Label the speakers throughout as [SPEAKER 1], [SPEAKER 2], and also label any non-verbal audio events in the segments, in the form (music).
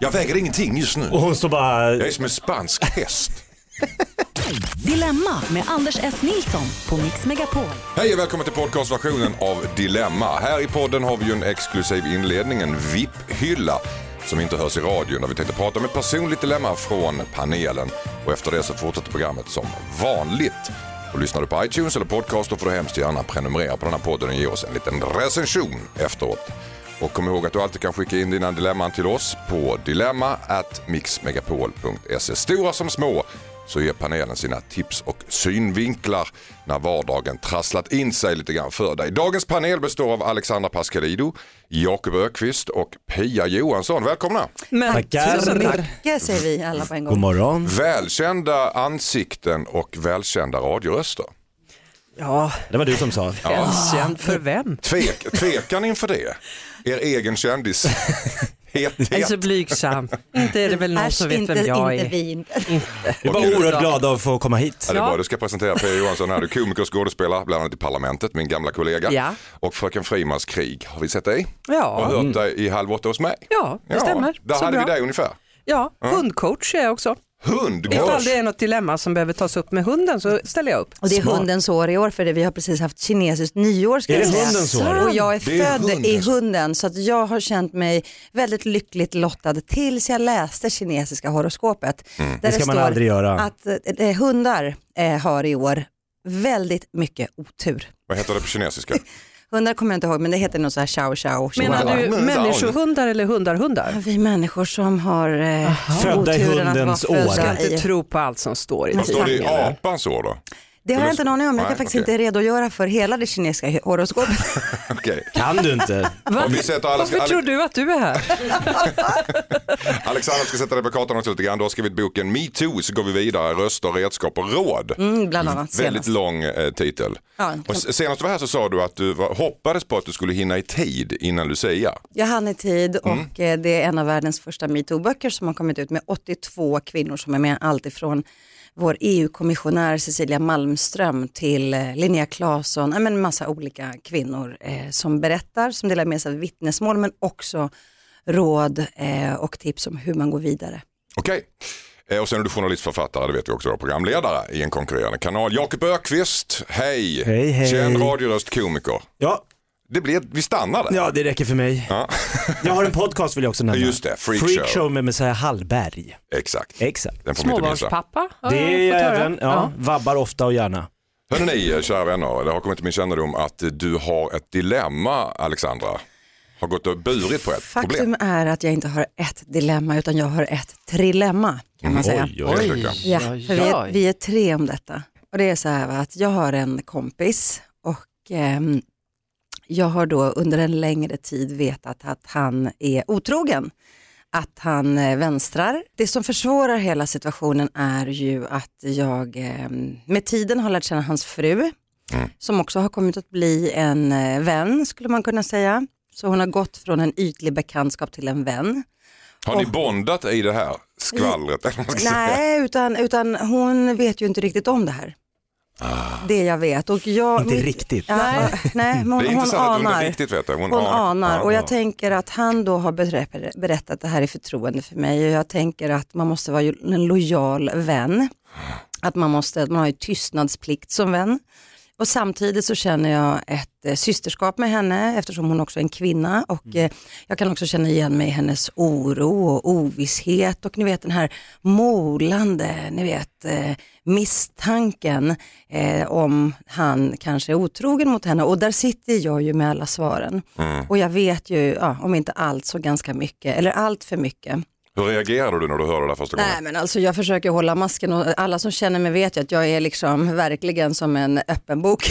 [SPEAKER 1] Jag väger ingenting just nu.
[SPEAKER 2] Och hon står bara...
[SPEAKER 1] Jag är som en spansk häst.
[SPEAKER 3] Dilemma med Anders S. Nilsson på Mix Megapol.
[SPEAKER 1] Hej och välkommen till podcastversionen av Dilemma. Här i podden har vi ju en exklusiv inledning, en VIP-hylla som inte hörs i radion där vi tänkte prata om ett personligt dilemma från panelen. Och efter det så fortsätter programmet som vanligt. Och lyssnar du på iTunes eller podcast då får du hemskt gärna prenumerera på den här podden och ge oss en liten recension efteråt. Och kom ihåg att du alltid kan skicka in dina dilemman till oss på dilemma.mixmegapol.se. Stora som små så ger panelen sina tips och synvinklar när vardagen trasslat in sig lite grann för dig. Dagens panel består av Alexandra Pascalidou, Jakob Ökvist och Pia Johansson. Välkomna!
[SPEAKER 4] Men
[SPEAKER 2] Tackar.
[SPEAKER 4] tusen
[SPEAKER 2] Tack.
[SPEAKER 4] mycket säger vi alla på en
[SPEAKER 2] God
[SPEAKER 4] gång.
[SPEAKER 2] morgon.
[SPEAKER 1] Välkända ansikten och välkända radioröster.
[SPEAKER 4] Ja,
[SPEAKER 2] Det var du som sa.
[SPEAKER 4] välkänd för vem?
[SPEAKER 1] Tvek, tvekan inför det? Er egen kändis?
[SPEAKER 5] Jag är
[SPEAKER 1] Hethet?
[SPEAKER 5] så Alltså, blygsam. Inte är det väl någon
[SPEAKER 4] Äsch,
[SPEAKER 5] som vet
[SPEAKER 4] inte,
[SPEAKER 5] vem jag
[SPEAKER 4] inte
[SPEAKER 5] är.
[SPEAKER 4] vi.
[SPEAKER 2] (laughs)
[SPEAKER 4] Inte.
[SPEAKER 2] Vi var oerhört glada att få komma hit.
[SPEAKER 1] Ja, det är bra, du ska presentera Pia Johansson här. Du är komiker, skådespelare, bland annat i Parlamentet, min gamla kollega.
[SPEAKER 5] Ja.
[SPEAKER 1] Och Fröken Frimans krig har vi sett dig och
[SPEAKER 5] Ja,
[SPEAKER 1] hört dig i Halv åtta hos mig.
[SPEAKER 5] ja det stämmer.
[SPEAKER 1] Där
[SPEAKER 5] så
[SPEAKER 1] hade
[SPEAKER 5] bra.
[SPEAKER 1] vi dig ungefär.
[SPEAKER 5] Ja, hundcoach är jag också. Ifall
[SPEAKER 1] Hundgårds.
[SPEAKER 5] det är något dilemma som behöver tas upp med hunden så ställer jag upp.
[SPEAKER 4] Och det är
[SPEAKER 2] Smart.
[SPEAKER 4] hundens år i år för det. vi har precis haft kinesiskt nyår. Ska
[SPEAKER 2] Är
[SPEAKER 4] jag
[SPEAKER 2] det
[SPEAKER 4] säga.
[SPEAKER 2] hundens år?
[SPEAKER 4] Och jag är
[SPEAKER 1] Det är
[SPEAKER 4] född i
[SPEAKER 1] hundens år.
[SPEAKER 4] hunden så att jag har känt mig väldigt lyckligt lottad tills jag läste kinesiska horoskopet.
[SPEAKER 1] Mm.
[SPEAKER 4] Där
[SPEAKER 2] Det ska man aldrig göra.
[SPEAKER 4] att eh, hundar eh, har i år väldigt mycket otur.
[SPEAKER 1] Vad heter det på
[SPEAKER 5] (laughs)
[SPEAKER 1] kinesiska?
[SPEAKER 4] Hundar kommer jag inte ihåg men det heter något så här chow chow.
[SPEAKER 5] Menar du
[SPEAKER 1] Chihuahua.
[SPEAKER 5] människohundar eller hundarhundar?
[SPEAKER 4] Vi människor som har eh,
[SPEAKER 2] Födda i
[SPEAKER 4] oturen att vara
[SPEAKER 2] hundens år.
[SPEAKER 4] födda
[SPEAKER 2] Ska
[SPEAKER 5] Ska inte
[SPEAKER 4] i
[SPEAKER 5] tro på allt som står i
[SPEAKER 1] Vad står det i
[SPEAKER 5] tidningen.
[SPEAKER 1] apans år då? (laughs)
[SPEAKER 4] Det har jag inte någon aning om. Jag
[SPEAKER 1] Nej,
[SPEAKER 4] kan faktiskt
[SPEAKER 1] okej.
[SPEAKER 4] inte redogöra för hela det kinesiska
[SPEAKER 1] (laughs)
[SPEAKER 4] horoskopet.
[SPEAKER 1] Okej.
[SPEAKER 2] Kan du inte?
[SPEAKER 5] Va?
[SPEAKER 1] Och vi sätter alla-
[SPEAKER 5] Varför
[SPEAKER 1] alla-
[SPEAKER 5] tror du att du är här?
[SPEAKER 1] Alexander ska sätta dig på kartan också lite grann. Du har skrivit boken MeToo så går vi vidare. Röster, redskap och råd.
[SPEAKER 4] Mm, bland annat
[SPEAKER 1] Väldigt
[SPEAKER 4] senast.
[SPEAKER 1] lång eh, titel.
[SPEAKER 4] Ja.
[SPEAKER 1] Och s- senast du var här så sa du att du var, hoppades på att du skulle hinna i tid innan Lucia.
[SPEAKER 4] Jag hann i tid
[SPEAKER 1] Mm.
[SPEAKER 4] och eh, det är en av världens första metoo-böcker som har kommit ut med 82 kvinnor som är med. Allt ifrån vår EU-kommissionär Cecilia Malmström till eh, Linnea Claesson. Nej, men massa olika kvinnor eh, som berättar, som delar med sig av vittnesmål men också råd eh, och tips om hur man går vidare.
[SPEAKER 1] Okej. Eh, Och sen är du journalist, författare, det vet vi också, och programledare i en konkurrerande kanal. Jakob Ökvist, hej!
[SPEAKER 2] Hej, hej.
[SPEAKER 1] Känd radioröst komiker.
[SPEAKER 2] Ja,
[SPEAKER 1] Det blir, vi stannar där.
[SPEAKER 2] ja, det räcker för mig.
[SPEAKER 1] Ja. (laughs)
[SPEAKER 2] Jag har en podcast vill jag också nämna.
[SPEAKER 1] Just det, Freak Show.
[SPEAKER 2] Show med Messiah Hallberg.
[SPEAKER 1] Exakt.
[SPEAKER 2] Exakt.
[SPEAKER 1] Den får man inte missa.
[SPEAKER 5] Småbarnspappa? Ja,
[SPEAKER 2] Det är
[SPEAKER 5] jag
[SPEAKER 2] jag
[SPEAKER 5] fått höra.
[SPEAKER 2] även, ja, vabbar ofta och gärna.
[SPEAKER 1] Hörrni, ni, eh, kära vänner, det har kommit till min kännedom att eh, du har ett dilemma, Alexandra. Har gått och burit på ett problem.
[SPEAKER 4] Faktum är att jag inte har ett dilemma utan jag har ett trilemma kan man säga.
[SPEAKER 2] Oj, oj.
[SPEAKER 1] Mm, Mhm. Oj.
[SPEAKER 4] Ja,
[SPEAKER 5] Oj,
[SPEAKER 4] för vi är,
[SPEAKER 5] oj.
[SPEAKER 4] vi är tre om detta. Och det är så här va, att jag har en kompis och ehm, jag har då under en längre tid vetat att han är otrogen. Att han eh, vänstrar. Det som försvårar hela situationen är ju att jag ehm, med tiden har lärt känna hans fru
[SPEAKER 5] Mm.
[SPEAKER 4] som också har kommit att bli en eh, vän skulle man kunna säga. Så hon har gått från en ytlig bekantskap till en vän.
[SPEAKER 1] Har ni bondat i det här skvallret? eller vad man ska säga?
[SPEAKER 4] Nej, utan, utan hon vet ju inte riktigt om det här.
[SPEAKER 1] Ah.
[SPEAKER 4] Det jag vet. Och jag,
[SPEAKER 2] Inte
[SPEAKER 4] mitt-
[SPEAKER 2] riktigt.
[SPEAKER 4] Ja, nej. men hon,
[SPEAKER 1] Det är
[SPEAKER 4] hon
[SPEAKER 1] intressant att hon
[SPEAKER 4] anar.
[SPEAKER 1] inte riktigt vet det. Hon,
[SPEAKER 4] Hon anar
[SPEAKER 1] Ja,
[SPEAKER 4] och jag
[SPEAKER 1] ja.
[SPEAKER 4] tänker att han då har berä- berättat det här i förtroende för mig och jag tänker att man måste vara ju- en lojal vän. Att man, måste, att man har ju tystnadsplikt som vän. Och samtidigt så känner jag ett eh, systerskap med henne eftersom hon också är en kvinna och eh, jag kan också känna igen mig i hennes oro och ovisshet och ni vet den här molande, ni vet eh, misstanken eh, om han kanske är otrogen mot henne och där sitter jag ju med alla svaren. Och jag vet ju, ja, om inte allt så ganska mycket, eller allt för mycket.
[SPEAKER 1] Hur reagerade du när du hörde det här första
[SPEAKER 4] Nej
[SPEAKER 1] gången?
[SPEAKER 4] men alltså jag försöker hålla masken och alla som känner mig vet ju att jag är liksom verkligen som en
[SPEAKER 2] (laughs)
[SPEAKER 4] öppen bok.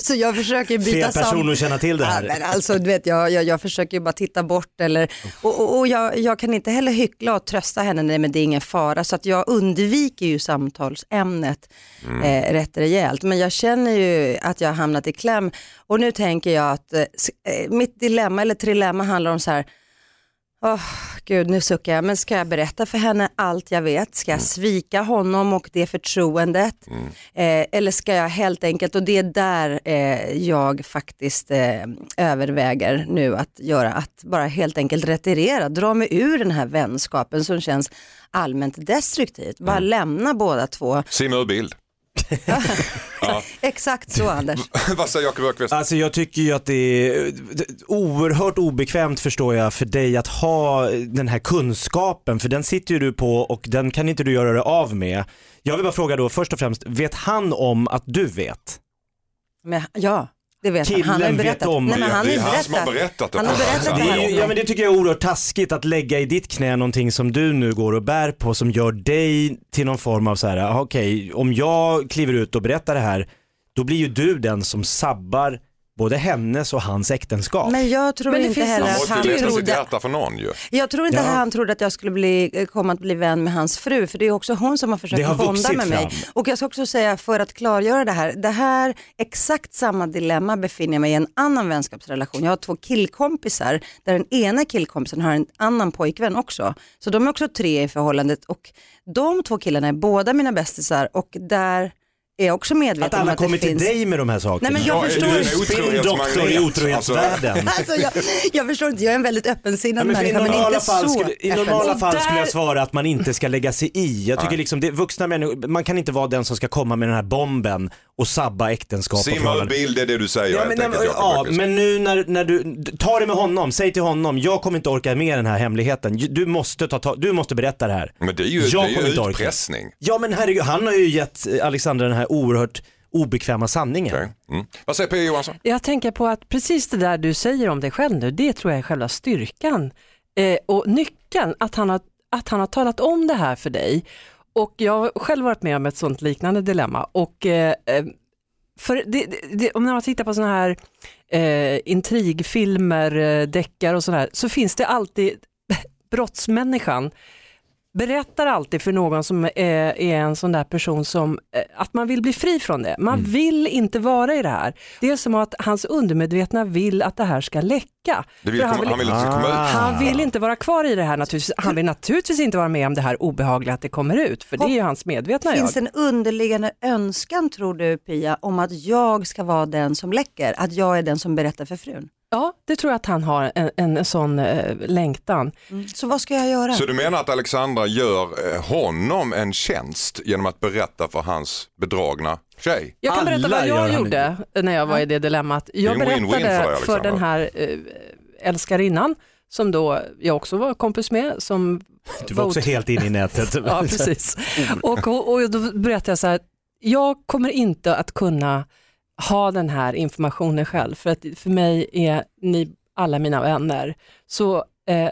[SPEAKER 4] så jag försöker byta
[SPEAKER 2] Fel person
[SPEAKER 4] sam-
[SPEAKER 2] att känna till det
[SPEAKER 4] Ja, men
[SPEAKER 2] här.
[SPEAKER 4] alltså, du vet, jag, jag, jag försöker ju bara titta bort eller, och, och, och jag, jag kan inte heller hyckla och trösta henne, nej men det är ingen fara, så att jag undviker ju samtalsämnet eh, rätt rejält. Men jag känner ju att jag har hamnat i kläm och nu tänker jag att eh, s- eh, mitt dilemma eller trilemma handlar om så här, åh,
[SPEAKER 6] gud nu suckar jag, men ska jag berätta för henne allt jag vet? Ska
[SPEAKER 1] Mm.
[SPEAKER 6] jag svika honom och det förtroendet? Eh, eller ska jag helt enkelt, och det är där eh, jag faktiskt eh, överväger nu att göra, att bara helt enkelt retirera, dra mig ur den här vänskapen som känns allmänt destruktivt, bara
[SPEAKER 1] Mm.
[SPEAKER 6] lämna
[SPEAKER 1] (laughs)
[SPEAKER 6] båda två.
[SPEAKER 1] Simma ur bild.
[SPEAKER 6] Exakt så Anders.
[SPEAKER 1] (laughs) Vad säger Jakob Ökvist?
[SPEAKER 2] Alltså jag tycker ju att det är oerhört obekvämt förstår jag för dig att ha den här kunskapen för den sitter ju du på och den kan inte du göra dig av med. Jag vill bara fråga då först och främst, vet han om att du vet?
[SPEAKER 6] Men, ja, det vet han. Han har ju
[SPEAKER 2] Killen vet
[SPEAKER 6] berättat.
[SPEAKER 2] om
[SPEAKER 6] Nej, men
[SPEAKER 1] det.
[SPEAKER 6] han
[SPEAKER 1] Det
[SPEAKER 6] har ju
[SPEAKER 1] är han som har berättat det.
[SPEAKER 6] Han har berättat
[SPEAKER 1] Det är
[SPEAKER 6] det
[SPEAKER 2] Det,
[SPEAKER 6] här.
[SPEAKER 2] är ju, ja, men det tycker jag är oerhört taskigt att lägga i ditt knä någonting som du nu går och bär på som gör dig till någon form av så här, ah, okej om jag kliver ut och berättar det här då blir ju du den som sabbar både hennes och hans äktenskap.
[SPEAKER 6] Men jag tror
[SPEAKER 5] Men det
[SPEAKER 6] inte
[SPEAKER 5] finns
[SPEAKER 6] heller
[SPEAKER 5] någon
[SPEAKER 1] Man
[SPEAKER 6] att
[SPEAKER 1] måste
[SPEAKER 6] han
[SPEAKER 1] ju lätta sitt
[SPEAKER 6] trodde,
[SPEAKER 1] hjärta för någon ju.
[SPEAKER 6] jag tror inte
[SPEAKER 2] Ja.
[SPEAKER 6] att han trodde att jag skulle bli, eh, komma att bli vän med hans fru, för det är också hon som har
[SPEAKER 2] Det
[SPEAKER 6] försökt
[SPEAKER 2] har
[SPEAKER 6] bonda
[SPEAKER 2] vuxit
[SPEAKER 6] med mig.
[SPEAKER 2] fram.
[SPEAKER 6] Och jag ska också säga, för att klargöra det här, det här, exakt samma dilemma befinner jag mig i en annan vänskapsrelation. Jag har två killkompisar, där den ena killkompisen har en annan pojkvän också. Så de är också tre i förhållandet och de två killarna är båda mina bästisar och där är jag också
[SPEAKER 2] Att
[SPEAKER 6] medveten om
[SPEAKER 2] alla
[SPEAKER 6] att det
[SPEAKER 2] kommer
[SPEAKER 6] finns...
[SPEAKER 2] till dig med de här sakerna.
[SPEAKER 6] Nej, men jag
[SPEAKER 1] Ja, är
[SPEAKER 6] förstår
[SPEAKER 1] du
[SPEAKER 2] Du
[SPEAKER 1] en
[SPEAKER 2] är spinndoktor i
[SPEAKER 1] otrohetsmagnet?
[SPEAKER 2] otrohetsvärlden.
[SPEAKER 6] (laughs) Alltså jag, jag förstår inte, jag är en väldigt öppensinnad
[SPEAKER 2] Ja, men för
[SPEAKER 6] människa
[SPEAKER 2] I
[SPEAKER 6] men
[SPEAKER 2] normala,
[SPEAKER 6] inte
[SPEAKER 2] fall
[SPEAKER 6] så
[SPEAKER 2] skulle, i
[SPEAKER 6] öppen.
[SPEAKER 2] normala
[SPEAKER 6] Och
[SPEAKER 2] fall
[SPEAKER 6] där-
[SPEAKER 2] skulle jag svara att man inte ska lägga sig i. Jag tycker liksom, det, vuxna människor, man kan inte vara den som ska komma med den här bomben och sabba äktenskap och
[SPEAKER 1] Simma ur
[SPEAKER 2] förhållanden.
[SPEAKER 1] bild det är det du säger
[SPEAKER 2] Ja,
[SPEAKER 1] helt
[SPEAKER 2] men,
[SPEAKER 1] enkelt Jakob
[SPEAKER 2] ja,
[SPEAKER 1] Ökvist.
[SPEAKER 2] men nu när, när du, ta det med honom, säg till honom, jag kommer inte orka med den här hemligheten. Du måste, ta, ta, du måste berätta det här.
[SPEAKER 1] Men det är ju,
[SPEAKER 2] Jag
[SPEAKER 1] det
[SPEAKER 2] kommer
[SPEAKER 1] är
[SPEAKER 2] inte
[SPEAKER 1] ju
[SPEAKER 2] orka.
[SPEAKER 1] utpressning.
[SPEAKER 2] Ja men herregud, han har ju gett eh, Alexander den här oerhört obekväma sanningen.
[SPEAKER 1] Okej. Mm. Vad säger P.E. Johansson?
[SPEAKER 5] Jag tänker på att precis det där du säger om dig själv nu, det tror jag är själva styrkan eh, och nyckeln, att han, har, att han har talat om det här för dig. Och jag har själv varit med om ett sånt liknande dilemma. Och, eh, eh, för det, det- det, om man tittar på sådana här eh, intrigfilmer, eh, deckare och sådär, så finns det alltid (laughs) brottsmänniskan berättar alltid för någon som är, är en sån där person som, eh, att man vill bli fri från det. Man vill inte vara i det här. Det är som att hans undermedvetna vill att det här ska läcka.
[SPEAKER 1] Det vill
[SPEAKER 5] För
[SPEAKER 1] komma, han vill att det ska komma ut.
[SPEAKER 5] han vill inte vara kvar i det här naturligtvis. Han vill naturligtvis inte vara med om det här obehagliga att det kommer ut, för det är ju hans medvetna jag.
[SPEAKER 6] Finns det en underliggande önskan tror du Pia om att jag ska vara den som läcker? Att jag är den som berättar för frun?
[SPEAKER 5] Ja, det tror jag att han har en, en sån eh, längtan.
[SPEAKER 6] Så vad ska jag göra?
[SPEAKER 1] Så du menar att Alexandra gör eh, honom en tjänst genom att berätta för hans bedragna tjej?
[SPEAKER 5] Jag kan berätta
[SPEAKER 2] Alla
[SPEAKER 5] vad
[SPEAKER 2] gör
[SPEAKER 5] jag
[SPEAKER 2] han
[SPEAKER 5] gjorde när jag var i det dilemmat.
[SPEAKER 1] är
[SPEAKER 5] Jag
[SPEAKER 1] en win-win för dig,
[SPEAKER 5] berättade
[SPEAKER 1] Alexandra.
[SPEAKER 5] för den här eh, älskarinnan som då jag också var kompis med. Som
[SPEAKER 2] Du var också helt inne i
[SPEAKER 6] (laughs)
[SPEAKER 2] nätet. (laughs)
[SPEAKER 5] Ja, precis. Och, och, och då berättade jag så här, jag kommer inte att kunna ha den här informationen själv, för att för mig är ni alla mina vänner. Så eh,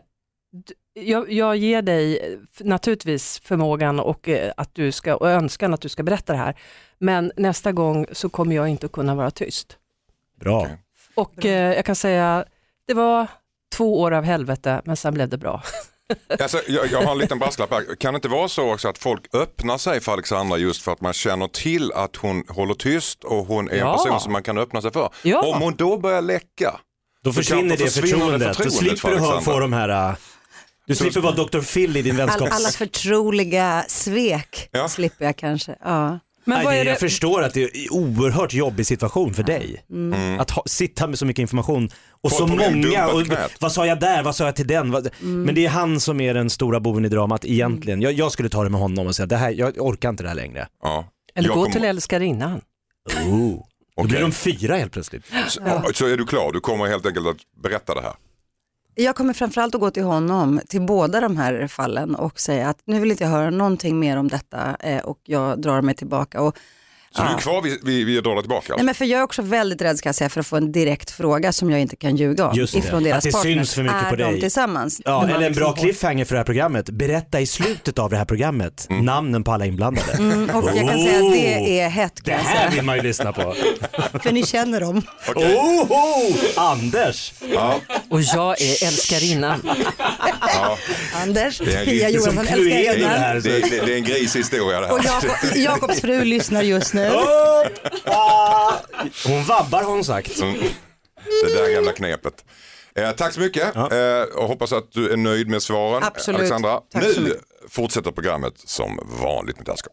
[SPEAKER 5] d- jag, jag ger dig eh, f- naturligtvis förmågan och, eh, att du ska, och önskan att du ska berätta det här, men nästa gång så kommer jag inte att kunna vara tyst.
[SPEAKER 2] Bra.
[SPEAKER 1] Okej.
[SPEAKER 5] Och eh, jag kan säga, det var två år av helvete, men sen blev det bra.
[SPEAKER 1] Alltså, jag, jag har en liten brasklapp här. Kan det inte vara så också att folk öppnar sig för Alexandra just för att man känner till att hon håller tyst och hon är en
[SPEAKER 5] Ja.
[SPEAKER 1] person som man kan öppna sig för?
[SPEAKER 5] Ja.
[SPEAKER 1] Om hon då börjar läcka,
[SPEAKER 2] Då försvinner
[SPEAKER 1] kanske
[SPEAKER 2] det
[SPEAKER 1] försvinner
[SPEAKER 2] förtroendet. Då
[SPEAKER 1] förtroendet
[SPEAKER 2] slipper du
[SPEAKER 1] för
[SPEAKER 2] ha-
[SPEAKER 1] Alexander.
[SPEAKER 2] få de här, äh, du slipper vara Dr. Phil i din
[SPEAKER 6] All,
[SPEAKER 2] vänskaps...
[SPEAKER 6] alla förtroliga svek
[SPEAKER 1] Ja.
[SPEAKER 6] slipper jag kanske. Ja.
[SPEAKER 5] Men
[SPEAKER 2] Nej,
[SPEAKER 5] vad
[SPEAKER 2] det,
[SPEAKER 5] är det-
[SPEAKER 2] Jag förstår att det är en oerhört jobbig situation för dig.
[SPEAKER 6] Mm.
[SPEAKER 1] Mm,
[SPEAKER 2] Att ha, sitta med så mycket information och
[SPEAKER 1] Folk
[SPEAKER 2] så
[SPEAKER 1] på väg
[SPEAKER 2] många.
[SPEAKER 1] dumpa
[SPEAKER 2] Och,
[SPEAKER 1] knät.
[SPEAKER 2] vad sa jag där? Vad sa jag till den? Vad,
[SPEAKER 6] Mm.
[SPEAKER 2] Men det är han som är den stora boven i dramat egentligen. Jag, jag skulle ta det med honom och säga det här, jag orkar inte det här längre.
[SPEAKER 1] ja.
[SPEAKER 5] Eller
[SPEAKER 1] Jag
[SPEAKER 5] gå
[SPEAKER 1] kommer-
[SPEAKER 5] till älskarinnan.
[SPEAKER 2] Oh. Då
[SPEAKER 1] Okej.
[SPEAKER 2] blir de fyra helt plötsligt.
[SPEAKER 1] så, så är du klar, du kommer helt enkelt att berätta det här.
[SPEAKER 6] Jag kommer framförallt att gå till honom, till båda de här fallen och säga att nu vill inte jag höra någonting mer om detta eh, och jag drar mig tillbaka. Och
[SPEAKER 1] Så du är kvar vid, vid, vid att dra dig tillbaka?
[SPEAKER 6] Nej, men för jag är också väldigt rädd ska jag säga, för att få en direkt fråga som jag inte kan ljuga om
[SPEAKER 2] Just det.
[SPEAKER 6] ifrån deras
[SPEAKER 2] Att det
[SPEAKER 6] partner.
[SPEAKER 2] syns för mycket
[SPEAKER 6] är
[SPEAKER 2] på
[SPEAKER 6] de
[SPEAKER 2] dig.
[SPEAKER 6] tillsammans?
[SPEAKER 2] Ja,
[SPEAKER 6] De har
[SPEAKER 2] eller en
[SPEAKER 6] liksom
[SPEAKER 2] bra
[SPEAKER 6] på-
[SPEAKER 2] cliffhanger för det här programmet. Berätta i slutet av det här programmet
[SPEAKER 1] Mm.
[SPEAKER 2] namnen på alla inblandade.
[SPEAKER 6] Mm, och jag kan säga att det är hett
[SPEAKER 2] Oh! Det
[SPEAKER 6] kan jag
[SPEAKER 2] här
[SPEAKER 6] säga,
[SPEAKER 2] vill man ju lyssna på.
[SPEAKER 6] för ni känner dem.
[SPEAKER 2] Oho! Anders!
[SPEAKER 5] Och jag är älskarinnan.
[SPEAKER 6] Anders,
[SPEAKER 1] Det är
[SPEAKER 6] Pia
[SPEAKER 1] riktigt
[SPEAKER 6] Johansson,
[SPEAKER 2] som Cluedo
[SPEAKER 6] älskar
[SPEAKER 1] det,
[SPEAKER 2] det
[SPEAKER 6] Einar.
[SPEAKER 2] här.
[SPEAKER 1] är, alltså? det, är, det är en grishistoria det här.
[SPEAKER 6] Och Jakob, Jakobs fru lyssnar just nu.
[SPEAKER 2] Hoppa! Ah. Hon vabbar har hon sagt.
[SPEAKER 1] Mm. Det där gamla knepet. Eh, tack så mycket
[SPEAKER 2] Ja.
[SPEAKER 1] eh, och hoppas att du är nöjd med svaren
[SPEAKER 6] Absolut.
[SPEAKER 1] Alexandra.
[SPEAKER 6] Tack så
[SPEAKER 1] nu
[SPEAKER 6] mycket.
[SPEAKER 1] fortsätter programmet som vanligt med Danskarp.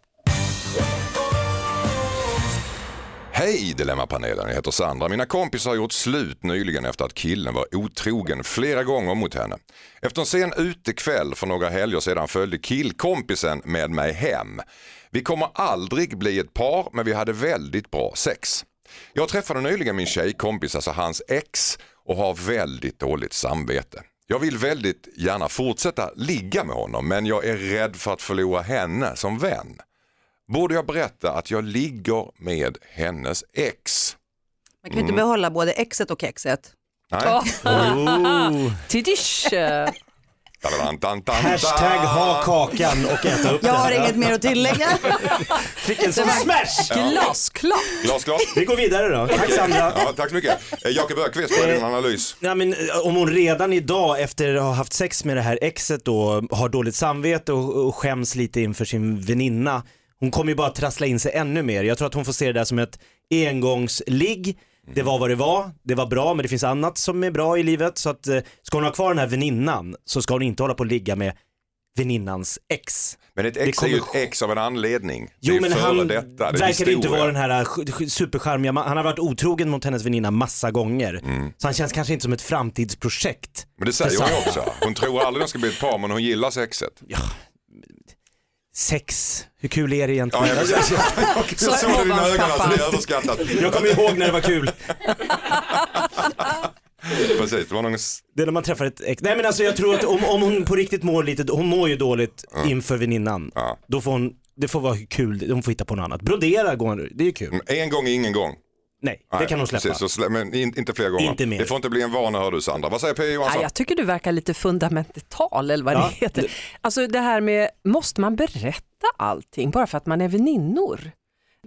[SPEAKER 1] Hej Dilemmapanelen, jag heter Sandra. Mina kompisar har gjort slut nyligen efter att killen var otrogen flera gånger mot henne. Efter en sen utekväll för några helger sedan följde killkompisen med mig hem. Vi kommer aldrig bli ett par men vi hade väldigt bra sex. Jag träffade nyligen min tjejkompis, alltså hans ex och har väldigt dåligt samvete. Jag vill väldigt gärna fortsätta ligga med honom men jag är rädd för att förlora henne som vän. Borde jag berätta att jag ligger med hennes ex?
[SPEAKER 6] Man kan ju inte behålla både exet och kexet.
[SPEAKER 1] Nej.
[SPEAKER 2] Oh.
[SPEAKER 5] Tidish!
[SPEAKER 1] Tadadan, tan, tan, tan.
[SPEAKER 2] Hashtag ha kakan och äta upp
[SPEAKER 6] Jag
[SPEAKER 2] den.
[SPEAKER 6] har inget mer att tillägga.
[SPEAKER 2] Fick en sån smash!
[SPEAKER 5] Glasklart!
[SPEAKER 1] Glas, glas.
[SPEAKER 2] Vi går vidare då. Tack Sandra.
[SPEAKER 1] Ja, tack så mycket. Eh, Jakob Ökvist, vad är din analys?
[SPEAKER 2] Nej, men, eh, om hon redan idag efter att ha haft sex med det här exet då har dåligt samvete och, och skäms lite inför sin väninna. Hon kommer ju bara trassla in sig ännu mer. Jag tror att hon får se det där som ett engångsligg. Det var vad det var, det var bra men det finns annat som är bra i livet. Så att, eh, ska hon ha kvar den här väninnan så ska hon inte hålla på och ligga med väninnans ex.
[SPEAKER 1] Men ett
[SPEAKER 2] Det
[SPEAKER 1] ex är
[SPEAKER 2] kommer-
[SPEAKER 1] ju ett ex av en anledning.
[SPEAKER 2] Jo
[SPEAKER 1] det är
[SPEAKER 2] men
[SPEAKER 1] före
[SPEAKER 2] han
[SPEAKER 1] detta, det är
[SPEAKER 2] verkar inte
[SPEAKER 1] historia.
[SPEAKER 2] vara den här sk- sk- supercharmiga, ma- han har varit otrogen mot hennes väninna massa gånger.
[SPEAKER 1] Mm.
[SPEAKER 2] Så han känns kanske inte som ett framtidsprojekt.
[SPEAKER 1] Men det säger hon ju också. Hon tror aldrig de ska bli ett par men hon gillar sexet.
[SPEAKER 2] Sex, hur kul är
[SPEAKER 1] Ja,
[SPEAKER 2] det egentligen?
[SPEAKER 1] jag, jag, jag, jag såg det i dina ögon alltså, det är överskattat.
[SPEAKER 2] (laughs) Jag kommer ihåg när det var kul.
[SPEAKER 1] Precis, det var någon... s-
[SPEAKER 2] Det är när man träffar ett ex. Nej men alltså jag tror att om, om hon på riktigt mår lite, hon mår ju dåligt inför väninnan.
[SPEAKER 1] Ja.
[SPEAKER 2] Då får hon, det får vara kul, hon får hitta på något annat. Brodera går hon, det är ju kul.
[SPEAKER 1] En gång är ingen gång.
[SPEAKER 2] Nej, det kan hon släppa.
[SPEAKER 1] Mm. Precis, så slä... Men in, inte fler gånger.
[SPEAKER 2] Inte mer.
[SPEAKER 1] Det får inte bli en vana hör du Sandra. Vad säger P.
[SPEAKER 5] Ja,
[SPEAKER 1] Johansson?
[SPEAKER 5] jag tycker du verkar lite fundamental eller vad
[SPEAKER 2] Ja,
[SPEAKER 5] det heter. Alltså det här med, måste man berätta allting bara för att man är väninnor?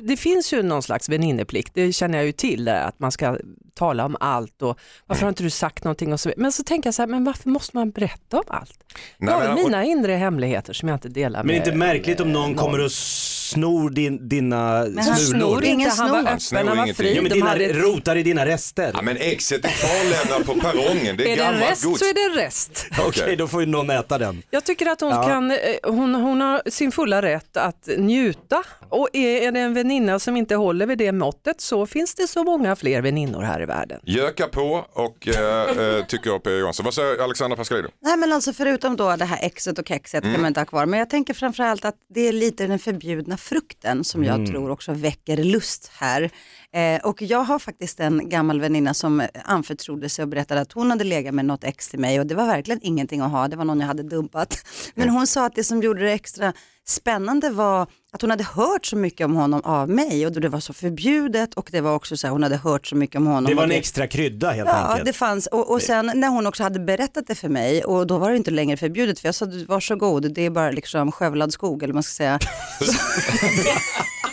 [SPEAKER 5] Det finns ju någon slags väninneplikt, det känner jag ju till, där, att man ska tala om allt och varför har inte du sagt någonting och så vidare. Men så tänker jag så här, men varför måste man berätta om allt?
[SPEAKER 1] Nej,
[SPEAKER 5] jag har
[SPEAKER 1] men-
[SPEAKER 5] mina inre hemligheter som jag inte delar
[SPEAKER 2] Men
[SPEAKER 5] med.
[SPEAKER 2] inte märkligt om någon kommer och snor din, dina
[SPEAKER 6] han
[SPEAKER 2] smulor.
[SPEAKER 6] snor
[SPEAKER 5] inte,
[SPEAKER 6] Ingen
[SPEAKER 5] han var
[SPEAKER 6] snor.
[SPEAKER 5] öppen,
[SPEAKER 1] snor
[SPEAKER 5] han var
[SPEAKER 1] ingenting.
[SPEAKER 5] fri.
[SPEAKER 2] Ja, men
[SPEAKER 5] de
[SPEAKER 2] dina,
[SPEAKER 5] hade ett-
[SPEAKER 2] rotar i dina rester.
[SPEAKER 1] Ja, men exet är kvarlämnat på perrongen, det är,
[SPEAKER 5] är det
[SPEAKER 1] gammalt
[SPEAKER 5] rest
[SPEAKER 1] gods.
[SPEAKER 5] så är det rest.
[SPEAKER 2] Okej, då får ju någon äta den.
[SPEAKER 5] Jag tycker att hon,
[SPEAKER 2] Ja.
[SPEAKER 5] kan, eh, hon, hon har sin fulla rätt att njuta och är är det en väninna som inte håller vid det måttet så finns det så många fler väninnor här i världen.
[SPEAKER 1] Göka på och eh, eh, tycker jag P. Johansson. Vad säger Alexandra Pascalidou?
[SPEAKER 6] Nej men alltså förutom då det här exet och kexet
[SPEAKER 2] Mm.
[SPEAKER 6] kan man inte ha kvar. Men jag tänker framförallt att det är lite den förbjudna frukten som
[SPEAKER 2] Mm.
[SPEAKER 6] jag tror också väcker lust här. Eh, och jag har faktiskt en gammal väninna som anförtrodde sig och berättade att hon hade legat med något ex till mig och det var verkligen ingenting att ha, det var någon jag hade dumpat. Men hon sa att det som gjorde det extra spännande var att hon hade hört så mycket om honom av mig och då det var så förbjudet och det var också så här, hon hade hört så mycket om honom.
[SPEAKER 2] Det var
[SPEAKER 6] och
[SPEAKER 2] en extra krydda helt
[SPEAKER 6] Ja,
[SPEAKER 2] enkelt.
[SPEAKER 6] det fanns. Och, och sen när hon också hade berättat det för mig och då var det inte längre förbjudet för jag sa varsågod, det är bara liksom skövlad skog eller vad man ska säga.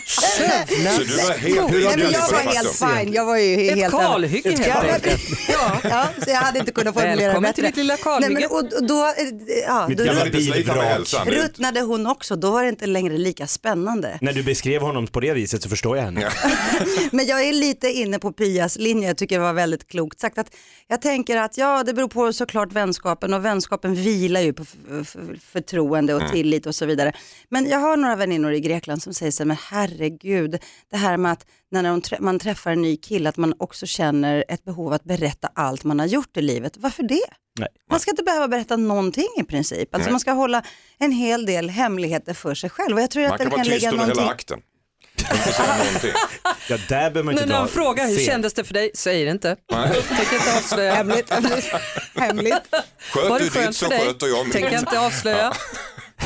[SPEAKER 1] Så du var helt
[SPEAKER 6] Nej, men
[SPEAKER 1] utbjuden
[SPEAKER 6] jag
[SPEAKER 1] på
[SPEAKER 6] var
[SPEAKER 1] det
[SPEAKER 6] helt
[SPEAKER 1] faktum.
[SPEAKER 6] fine, jag var ju he-
[SPEAKER 5] Ett
[SPEAKER 6] helt...
[SPEAKER 5] kalhygge helt
[SPEAKER 6] Ja, men-
[SPEAKER 5] enkelt.
[SPEAKER 6] ja, ja, så jag hade inte kunnat formulera det
[SPEAKER 5] Välkommen
[SPEAKER 6] bättre.
[SPEAKER 5] till ditt lilla
[SPEAKER 6] Nej,
[SPEAKER 5] kalhygge.
[SPEAKER 6] men, och, och då, eh, ja,
[SPEAKER 2] Mitt jävla
[SPEAKER 6] då
[SPEAKER 1] Jag var lite sliten med
[SPEAKER 2] Bilvrak.
[SPEAKER 1] hälsan.
[SPEAKER 6] ruttnade hon också, då var det inte längre lika spännande.
[SPEAKER 2] När du beskrev honom på det viset så förstår jag henne.
[SPEAKER 6] Men jag är lite inne på Pias linje, jag tycker det var väldigt klokt sagt. Att jag tänker att ja, det beror på såklart vänskapen och vänskapen vilar ju på f- f- förtroende
[SPEAKER 1] Mm.
[SPEAKER 6] och tillit och så vidare. Men jag har några väninnor i Grekland som säger så här, men herregud, det här med att när de trä- man träffar en ny kille att man också känner ett behov att berätta allt man har gjort i livet. Varför det?
[SPEAKER 2] Nej.
[SPEAKER 6] Man ska inte behöva berätta någonting i princip. Alltså man ska hålla en hel del hemligheter för sig själv. Och jag tror
[SPEAKER 1] Man
[SPEAKER 6] att det
[SPEAKER 1] kan vara
[SPEAKER 6] kan
[SPEAKER 1] tyst
[SPEAKER 6] ligga
[SPEAKER 1] under
[SPEAKER 6] någonting
[SPEAKER 1] hela akten. Inte
[SPEAKER 5] (laughs)
[SPEAKER 1] säga någonting.
[SPEAKER 2] Ja, där behöver man
[SPEAKER 5] Nu
[SPEAKER 2] inte
[SPEAKER 5] när
[SPEAKER 2] dra.
[SPEAKER 5] han frågar hur
[SPEAKER 2] Se.
[SPEAKER 5] kändes det för dig, säger det inte. Tänker
[SPEAKER 2] (laughs)
[SPEAKER 5] inte avslöja.
[SPEAKER 6] hemligt. hemligt, hemligt.
[SPEAKER 5] Var
[SPEAKER 1] Sköt
[SPEAKER 5] det
[SPEAKER 1] du ditt
[SPEAKER 5] skönt
[SPEAKER 1] så
[SPEAKER 5] för dig?
[SPEAKER 1] sköter jag
[SPEAKER 5] Tänker
[SPEAKER 1] mitt.
[SPEAKER 5] inte avslöja.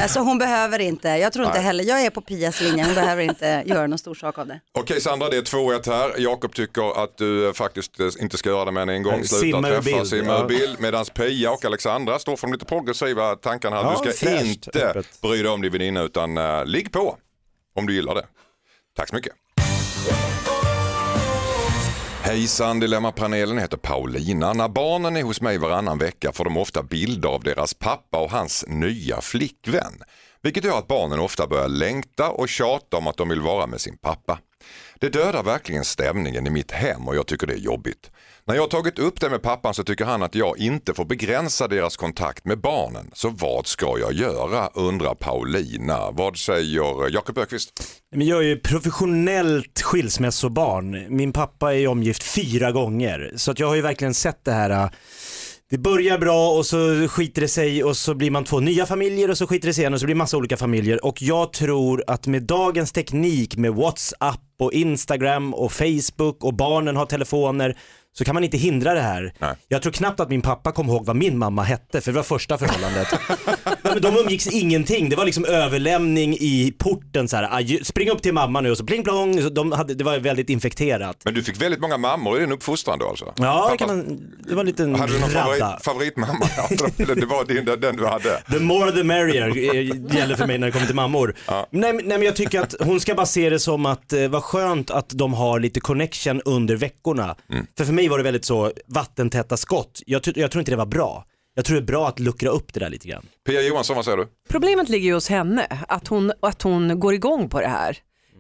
[SPEAKER 6] Alltså hon behöver inte, jag tror inte heller, jag är på Pias linje, hon behöver inte göra någon stor sak av det.
[SPEAKER 1] Okej Sandra, det är 2-1 här. Jakob tycker att du eh, faktiskt eh, inte ska göra det med en gång.
[SPEAKER 2] Nej,
[SPEAKER 1] Sluta
[SPEAKER 2] simma ur
[SPEAKER 1] träffa,
[SPEAKER 2] bild,
[SPEAKER 1] simma
[SPEAKER 2] ja.
[SPEAKER 1] ur bild. Medan Pia och Alexandra står för de lite progressiva tankarna här.
[SPEAKER 2] Ja,
[SPEAKER 1] du ska
[SPEAKER 2] fräscht,
[SPEAKER 1] inte
[SPEAKER 2] öppet.
[SPEAKER 1] bry dig om din väninna utan eh, ligg på om du gillar det. Tack så mycket. Hejsan Dilemmapanelen, jag heter Paulina. När barnen är hos mig varannan vecka får de ofta bilder av deras pappa och hans nya flickvän. Vilket gör att barnen ofta börjar längta och tjata om att de vill vara med sin pappa. Det dödar verkligen stämningen i mitt hem och jag tycker det är jobbigt. När jag har tagit upp det med pappan så tycker han att jag inte får begränsa deras kontakt med barnen. Så vad ska jag göra undrar Paulina. Vad säger Jakob Ökvist?
[SPEAKER 2] Men jag är ju professionellt skilsmässobarn. Min pappa är ju omgift fyra gånger. Så att jag har ju verkligen sett det här. äh, Det börjar bra och så skiter det sig och så blir man två nya familjer och så skiter det sig igen och så blir det massa olika familjer. Och jag tror att med dagens teknik med WhatsApp och Instagram och Facebook och barnen har telefoner så kan man inte hindra det här.
[SPEAKER 1] Nej.
[SPEAKER 2] Jag tror knappt att min pappa kom ihåg vad min mamma hette för det var första förhållandet. (laughs) Nej, men de umgicks ingenting. Det var liksom överlämning i porten så här. "Adjö, Spring upp till mamma nu och så pling plong. Så de hade, det var väldigt infekterat.
[SPEAKER 1] Men du fick väldigt många mammor i din uppfostran då alltså?
[SPEAKER 2] Ja,
[SPEAKER 1] Pappa-
[SPEAKER 2] det, kan man, det var en liten
[SPEAKER 1] Hade du någon
[SPEAKER 2] radda.
[SPEAKER 1] favorit, favoritmamma? Eller det var din, den du hade?
[SPEAKER 2] The more the merrier eh, gäller för mig när det kommer till mammor. Nej, men- nej men jag tycker att hon ska bara se det som att eh, vad skönt att de har lite connection under veckorna. För för mig var det väldigt så vattentäta skott. Jag, ty- jag tror inte det var bra. Jag tror det är bra att luckra upp det där lite grann.
[SPEAKER 1] Pia Johansson, vad säger du?
[SPEAKER 5] Problemet ligger ju hos henne, att hon, att hon går igång på det här.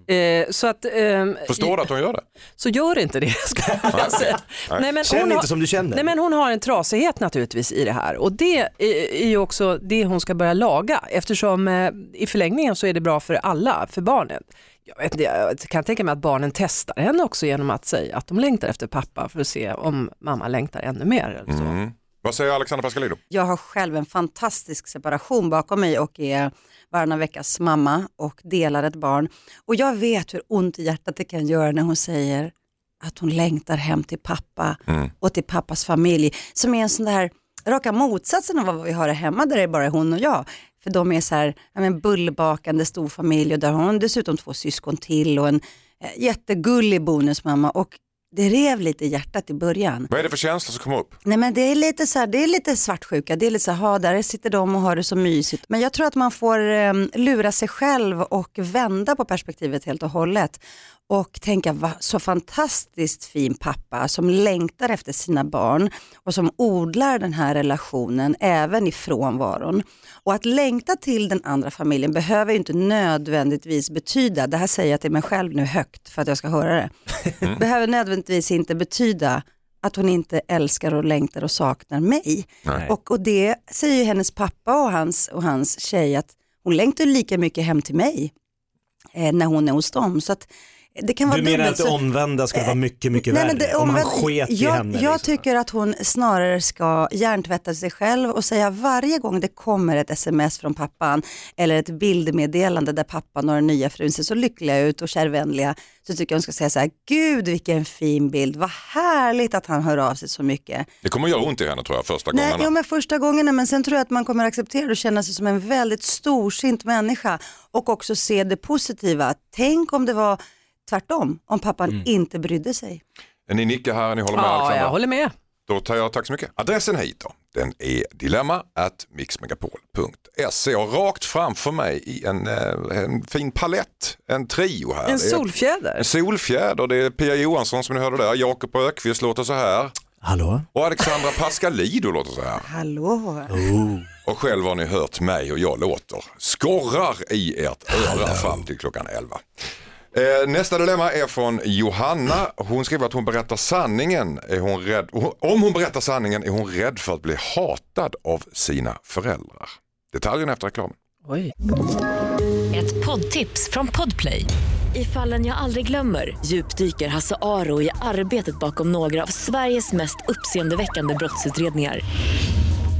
[SPEAKER 5] Eh, så, att, ehm,
[SPEAKER 1] Förstår du att hon gör det?
[SPEAKER 5] så gör inte det (laughs) ska jag säga. Nej, men
[SPEAKER 2] Känn
[SPEAKER 5] hon har-
[SPEAKER 2] inte som du känner.
[SPEAKER 5] Nej men hon har en trasighet naturligtvis i det här och det är- är ju också det hon ska börja laga eftersom eh, i förlängningen så är det bra för alla, för barnet. Jag, vet, inte, jag kan tänka mig att barnen testar henne också genom att säga att de längtar efter pappa för att se om mamma längtar ännu mer. Eller så.
[SPEAKER 1] Mm. Vad säger Alexandra Pascalido?
[SPEAKER 6] Jag har själv en fantastisk separation bakom mig och är varannan veckas mamma och delar ett barn. Och jag vet hur ont i hjärtat det kan göra när hon säger att hon längtar hem till pappa och till pappas familj. Som är en sån där raka motsatsen av vad vi har här hemma där det är bara hon och jag. För de är så här, ja, men bullbakande storfamilj och där har hon dessutom två syskon till och en eh, jättegullig bonusmamma. Och det rev lite i hjärtat i början.
[SPEAKER 1] Vad är det för känslor som kommer upp?
[SPEAKER 6] Nej men det är lite så här, det är lite svartsjuka, det är lite så här, ha, där sitter de och har det så mysigt. Men jag tror att man får eh, lura sig själv och vända på perspektivet helt och hållet. Och tänka, va, så fantastiskt fin pappa som längtar efter sina barn och som odlar den här relationen även i frånvaron. Och att längta till den andra familjen behöver ju inte nödvändigtvis betyda, det här säger jag till mig själv nu högt för att jag ska höra det, behöver nödvändigtvis inte betyda att hon inte älskar och längtar och saknar mig.
[SPEAKER 2] Nej.
[SPEAKER 6] Och, och det säger ju hennes pappa och hans, och hans tjej att hon längtar ju lika mycket hem till mig eh, när hon är hos dem. Så att eh, det kan vara
[SPEAKER 2] Du menar att
[SPEAKER 6] dubbelt
[SPEAKER 2] det
[SPEAKER 6] så-
[SPEAKER 2] omvända skulle vara mycket, mycket
[SPEAKER 6] Eh, Nej,
[SPEAKER 2] värre?
[SPEAKER 6] men det-
[SPEAKER 2] om han
[SPEAKER 6] omvänt-
[SPEAKER 2] sket i
[SPEAKER 6] jag,
[SPEAKER 2] henne?
[SPEAKER 6] Jag
[SPEAKER 2] liksom.
[SPEAKER 6] tycker att hon snarare ska hjärntvätta sig själv och säga varje gång det kommer ett sms från pappan eller ett bildmeddelande där pappan och den nya frun ser så lyckliga ut och kärvänliga så tycker jag hon ska säga så här, gud vilken fin bild, vad härligt att han hör av sig så mycket.
[SPEAKER 1] Det kommer göra ont i henne tror jag första
[SPEAKER 6] Nej,
[SPEAKER 1] gången.
[SPEAKER 6] jo, men första gångerna, men sen tror jag att man kommer acceptera det och känna sig som en väldigt storsint människa och också se det positiva. Tänk om det var tvärtom, om pappan inte brydde sig.
[SPEAKER 1] Ni nickar här, ni håller med
[SPEAKER 5] Ja,
[SPEAKER 1] Alexandra.
[SPEAKER 5] jag håller med.
[SPEAKER 1] Då tar jag tack så mycket. Adressen hit då, den är dilemma at mixmegapol.se och rakt framför mig i en, eh, en fin palett, en trio här.
[SPEAKER 5] En
[SPEAKER 1] Det är
[SPEAKER 5] solfjäder.
[SPEAKER 1] En solfjärd och det är Pia Johansson som ni hörde där, Jakob Ökvist låter så här
[SPEAKER 2] Hallå?
[SPEAKER 1] och
[SPEAKER 5] (laughs)
[SPEAKER 1] Alexandra Pascalido låter så här.
[SPEAKER 6] Hallå?
[SPEAKER 1] Och själv har ni hört mig och jag låter skorrar i ert öra fram till klockan 11. Eh, Nästa dilemma är från Johanna. Hon skriver att hon berättar sanningen. Är hon rädd, om hon berättar sanningen är hon rädd för att bli hatad av sina föräldrar. Detaljerna efter reklamen.
[SPEAKER 5] Oj.
[SPEAKER 4] Ett poddtips från Podplay. I fallen jag aldrig glömmer djupdyker Hasse Aro i arbetet bakom några av Sveriges mest uppseendeväckande brottsutredningar.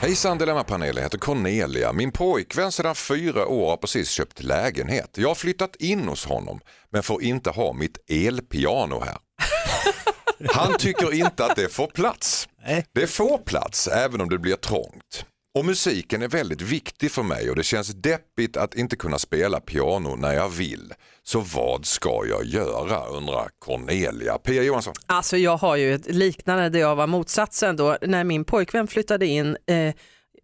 [SPEAKER 1] Hejsan Dilemmapanelen, jag heter Cornelia. Min pojkvän sedan fyra år har precis köpt lägenhet. Jag har flyttat in hos honom men får inte ha mitt elpiano här. Han tycker inte att det får plats.
[SPEAKER 2] Nej.
[SPEAKER 1] Det får plats även om det blir trångt. Och musiken är väldigt viktig för mig och det känns deppigt att inte kunna spela piano när jag vill. Så vad ska jag göra undrar Cornelia. Pia Johansson.
[SPEAKER 5] Alltså jag har ju ett liknande där jag var motsatsen då när min pojkvän flyttade in eh,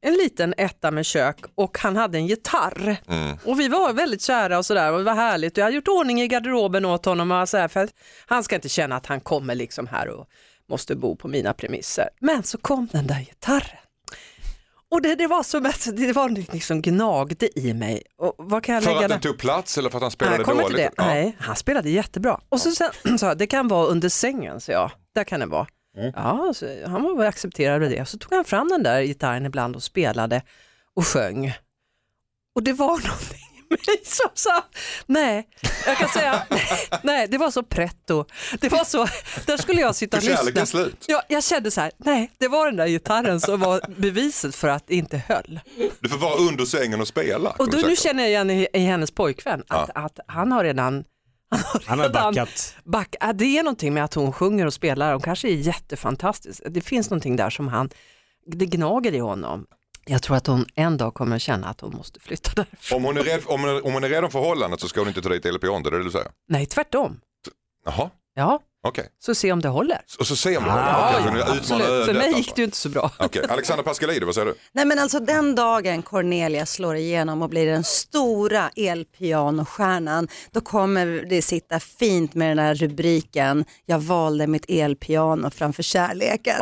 [SPEAKER 5] en liten etta med kök och han hade en gitarr.
[SPEAKER 1] Mm.
[SPEAKER 5] Och vi var väldigt kära och sådär och det var härligt. Och jag hade gjort ordning i garderoben åt honom och så här, för att han ska inte känna att han kommer liksom här och måste bo på mina premisser. Men så kom den där gitarren. Och det, det var som att det var liksom gnagde i mig. Och vad kan jag
[SPEAKER 1] För
[SPEAKER 5] lägga
[SPEAKER 1] att
[SPEAKER 5] där?
[SPEAKER 1] den tog plats eller för att han spelade
[SPEAKER 5] Nej, kommer
[SPEAKER 1] dåligt?
[SPEAKER 5] Inte det.
[SPEAKER 1] Ja.
[SPEAKER 5] Nej, han spelade jättebra. Och så sen, (clears throat) sa jag, det kan vara under sängen, så jag. Där kan det vara.
[SPEAKER 1] Mm.
[SPEAKER 5] Ja, så han var väl accepterade det. Så tog han fram den där gitarren ibland och spelade och sjöng. Och det var (laughs) någonting i mig som sa, nej, jag kan säga, (laughs) nej, det var så pretto. Det var så, där skulle jag sitta och
[SPEAKER 1] För kärleken
[SPEAKER 5] lyssna.
[SPEAKER 1] slut.
[SPEAKER 5] Ja, jag kände så här, nej, det var den där gitarren som var beviset för att det inte höll.
[SPEAKER 1] Du får vara under sängen och spela.
[SPEAKER 5] Och
[SPEAKER 1] kommer
[SPEAKER 5] då,
[SPEAKER 1] du
[SPEAKER 5] nu
[SPEAKER 1] säkert.
[SPEAKER 5] känner jag igen i, i hennes pojkvän att, att han har redan
[SPEAKER 2] Han har backat.
[SPEAKER 5] Back, ah, det är någonting med att hon sjunger och spelar, hon kanske är jättefantastisk. Det finns någonting där som han, det gnager i honom. Jag tror att hon en dag kommer att känna att hon måste flytta (laughs) därifrån.
[SPEAKER 1] Om hon, är rädd, om, hon är, om hon är rädd om förhållandet så ska hon inte ta dit Elpion, det är det du säger?
[SPEAKER 5] Nej, tvärtom.
[SPEAKER 1] Jaha,
[SPEAKER 5] Ja,
[SPEAKER 1] okej.
[SPEAKER 5] så se om det håller.
[SPEAKER 1] Och så ser man
[SPEAKER 2] Ah,
[SPEAKER 1] honom, ja, utmana
[SPEAKER 5] Absolut.
[SPEAKER 1] ödet.
[SPEAKER 5] För mig
[SPEAKER 1] alltså.
[SPEAKER 5] gick det ju inte så bra.
[SPEAKER 1] Okej, Alexander Pascalidou, vad säger du?
[SPEAKER 6] Nej men alltså den dagen Cornelia slår igenom och blir den stora elpianostjärnan, då kommer det sitta fint med den här rubriken, jag valde mitt elpiano framför kärleken.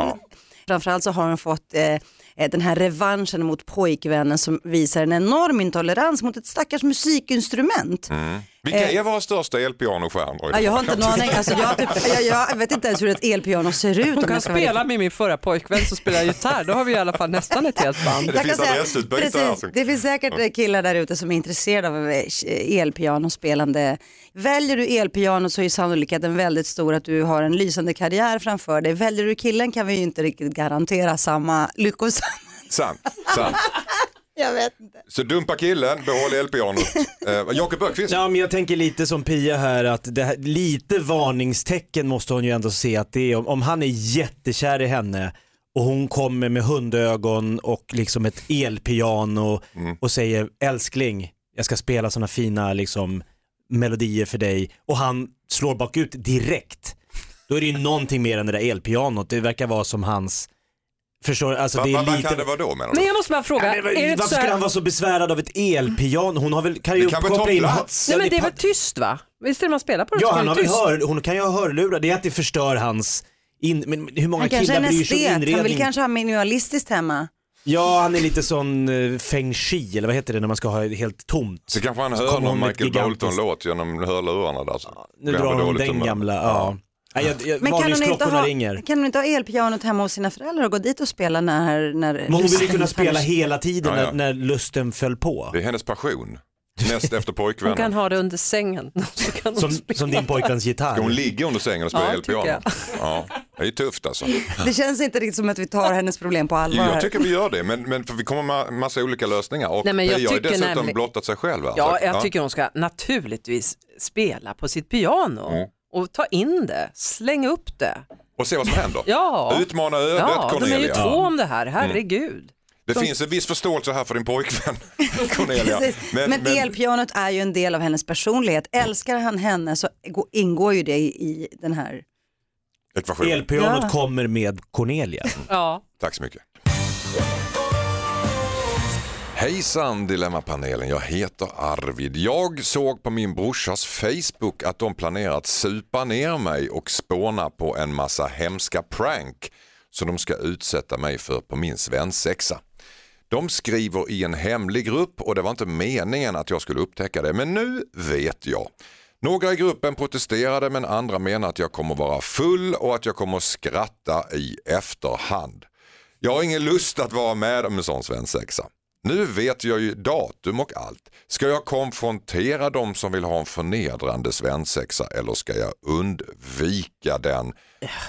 [SPEAKER 6] Framförallt så har hon fått eh, eh, den här revanschen mot pojkvännen som visar en enorm intolerans mot ett stackars musikinstrument.
[SPEAKER 5] Mm.
[SPEAKER 1] Vilka
[SPEAKER 5] Eh.
[SPEAKER 1] är våra största elpianostjärnor?
[SPEAKER 5] Ah,
[SPEAKER 6] Ja, jag har inte en aning, alltså, jag, har typ, jag, jag vet inte ens hur ett elpiano ser ut.
[SPEAKER 5] Hon
[SPEAKER 6] om
[SPEAKER 5] kan
[SPEAKER 6] jag ska vara
[SPEAKER 5] spela med min förra pojkvän som spelar gitarr, då har vi i alla fall nästan ett helt band.
[SPEAKER 1] Det
[SPEAKER 6] Jag kan
[SPEAKER 1] finns adressutbyte
[SPEAKER 6] precis,
[SPEAKER 1] alltså.
[SPEAKER 6] Det finns säkert eh, killar där ute som är intresserade av eh, elpianospelande. Väljer du elpiano så är sannolikheten väldigt stor att du har en lysande karriär framför dig. Väljer du killen kan vi ju inte riktigt garantera samma (laughs) lyckosam.
[SPEAKER 1] Sant, sant.
[SPEAKER 6] Jag vet inte.
[SPEAKER 1] Så dumpa killen, behåll elpianot. Eh, Jakob Björkqvist,
[SPEAKER 2] Ja, men jag tänker lite som Pia här att det här, lite varningstecken måste hon ju ändå se att det är om, om han är jättekär i henne och hon kommer med hundögon och liksom ett elpiano
[SPEAKER 1] Mm.
[SPEAKER 2] och säger älskling jag ska spela sådana fina liksom, melodier för dig och han slår bakut direkt. Då är det ju någonting mer än det där elpianot. Det verkar vara som hans, förstår alltså
[SPEAKER 1] vad
[SPEAKER 2] det är
[SPEAKER 1] vad- vad
[SPEAKER 2] lite...
[SPEAKER 1] kan det vara då menar
[SPEAKER 5] Men
[SPEAKER 1] du?
[SPEAKER 5] jag måste bara fråga,
[SPEAKER 2] Nej, men
[SPEAKER 5] är det inte
[SPEAKER 2] Varför
[SPEAKER 5] så
[SPEAKER 2] skulle
[SPEAKER 5] här,
[SPEAKER 2] han vara så besvärad av ett elpiano? Hon har väl, kan ju
[SPEAKER 1] Det kan väl ta
[SPEAKER 2] koppla in...
[SPEAKER 1] plats?
[SPEAKER 5] Nej men
[SPEAKER 2] Ja,
[SPEAKER 5] det är
[SPEAKER 2] pa-
[SPEAKER 5] väl tyst va? Visst är det man spelar på det
[SPEAKER 2] Ja,
[SPEAKER 5] så är
[SPEAKER 2] han
[SPEAKER 5] det
[SPEAKER 2] har väl
[SPEAKER 5] tyst?
[SPEAKER 2] hör, hon kan ju ha hörlurar. Det är att det förstör hans... In, men hur många
[SPEAKER 6] Han kanske är
[SPEAKER 2] killar
[SPEAKER 6] en
[SPEAKER 2] bryr sig om
[SPEAKER 6] estet,
[SPEAKER 2] inredning?
[SPEAKER 6] han vill kanske ha minimalistiskt hemma.
[SPEAKER 2] Ja, han är lite sån eh, feng shui, eller vad heter det när man ska ha helt tomt?
[SPEAKER 1] Så kanske han
[SPEAKER 2] Så
[SPEAKER 1] hör
[SPEAKER 2] kommer
[SPEAKER 1] någon
[SPEAKER 2] hon med ett
[SPEAKER 1] Michael
[SPEAKER 2] gigantiskt-
[SPEAKER 1] Bolton-låt genom hörlurarna där. Så
[SPEAKER 2] Nu
[SPEAKER 1] blir han
[SPEAKER 2] drar hon
[SPEAKER 1] dåligt
[SPEAKER 2] den
[SPEAKER 1] humör.
[SPEAKER 2] gamla, ja. Nej, jag, jag,
[SPEAKER 6] Men kan hon, inte
[SPEAKER 2] varningsklockorna
[SPEAKER 6] ha,
[SPEAKER 2] ringer.
[SPEAKER 6] kan hon inte ha elpianot hemma hos sina föräldrar och gå dit och spela när... när
[SPEAKER 2] Men hon vill ju
[SPEAKER 6] lusten
[SPEAKER 2] kunna
[SPEAKER 6] faller?
[SPEAKER 2] spela hela tiden
[SPEAKER 1] Ja, ja.
[SPEAKER 2] När, när lusten föll på.
[SPEAKER 1] Det är hennes passion. Näst efter
[SPEAKER 5] Hon kan
[SPEAKER 1] pojkvännen.
[SPEAKER 5] ha det under sängen. (laughs) Så kan hon
[SPEAKER 2] Som,
[SPEAKER 5] spela.
[SPEAKER 2] som din pojkväns
[SPEAKER 1] Ska hon
[SPEAKER 2] gitarr.
[SPEAKER 1] ligga under sängen och spela
[SPEAKER 5] Ja, tycker
[SPEAKER 1] elpiano?
[SPEAKER 5] jag.
[SPEAKER 1] Ja, det är ju tufft
[SPEAKER 5] (laughs)
[SPEAKER 1] alltså.
[SPEAKER 6] Det känns inte riktigt som att vi tar hennes problem på
[SPEAKER 1] Jo,
[SPEAKER 6] allvar.
[SPEAKER 1] jag
[SPEAKER 6] här.
[SPEAKER 1] tycker vi gör det, men, men för vi kommer med massa olika lösningar. Och
[SPEAKER 5] Nej, men jag
[SPEAKER 1] Pia har ju
[SPEAKER 5] tycker
[SPEAKER 1] dessutom
[SPEAKER 5] nämligen-
[SPEAKER 1] blottat sig själv. Alltså.
[SPEAKER 5] Ja, jag tycker hon ska naturligtvis spela på sitt piano
[SPEAKER 1] Mm.
[SPEAKER 5] och ta in det, slänga upp det.
[SPEAKER 1] Och se vad som händer.
[SPEAKER 5] Ja,
[SPEAKER 1] Utmana ödet
[SPEAKER 5] ja de är ju
[SPEAKER 1] Cornelia.
[SPEAKER 5] två om det
[SPEAKER 1] Mm.
[SPEAKER 5] här, herregud.
[SPEAKER 1] Det finns en viss förståelse här för din
[SPEAKER 5] (laughs)
[SPEAKER 1] pojkvän Cornelia.
[SPEAKER 6] Precis. Men, elpianot är ju en del av hennes personlighet. Älskar han henne så gå- ingår ju det i, i den här.
[SPEAKER 1] ekvationen.
[SPEAKER 2] Elpianot
[SPEAKER 6] Ja.
[SPEAKER 2] kommer med Cornelia.
[SPEAKER 5] Ja.
[SPEAKER 1] Tack så mycket. Hejsan Dilemmapanelen, jag heter Arvid. Jag såg på min brorsas Facebook att de planerar att supa ner mig och spåna på en massa hemska prank som de ska utsätta mig för på min svensexa. De skriver i en hemlig grupp och det var inte meningen att jag skulle upptäcka det, men nu vet jag. Några i gruppen protesterade men andra menar att jag kommer vara full och att jag kommer skratta i efterhand. Jag har ingen lust att vara med om en sån svensexa. Nu vet jag ju datum och allt. Ska jag konfrontera de som vill ha en förnedrande svensexa eller ska jag undvika den?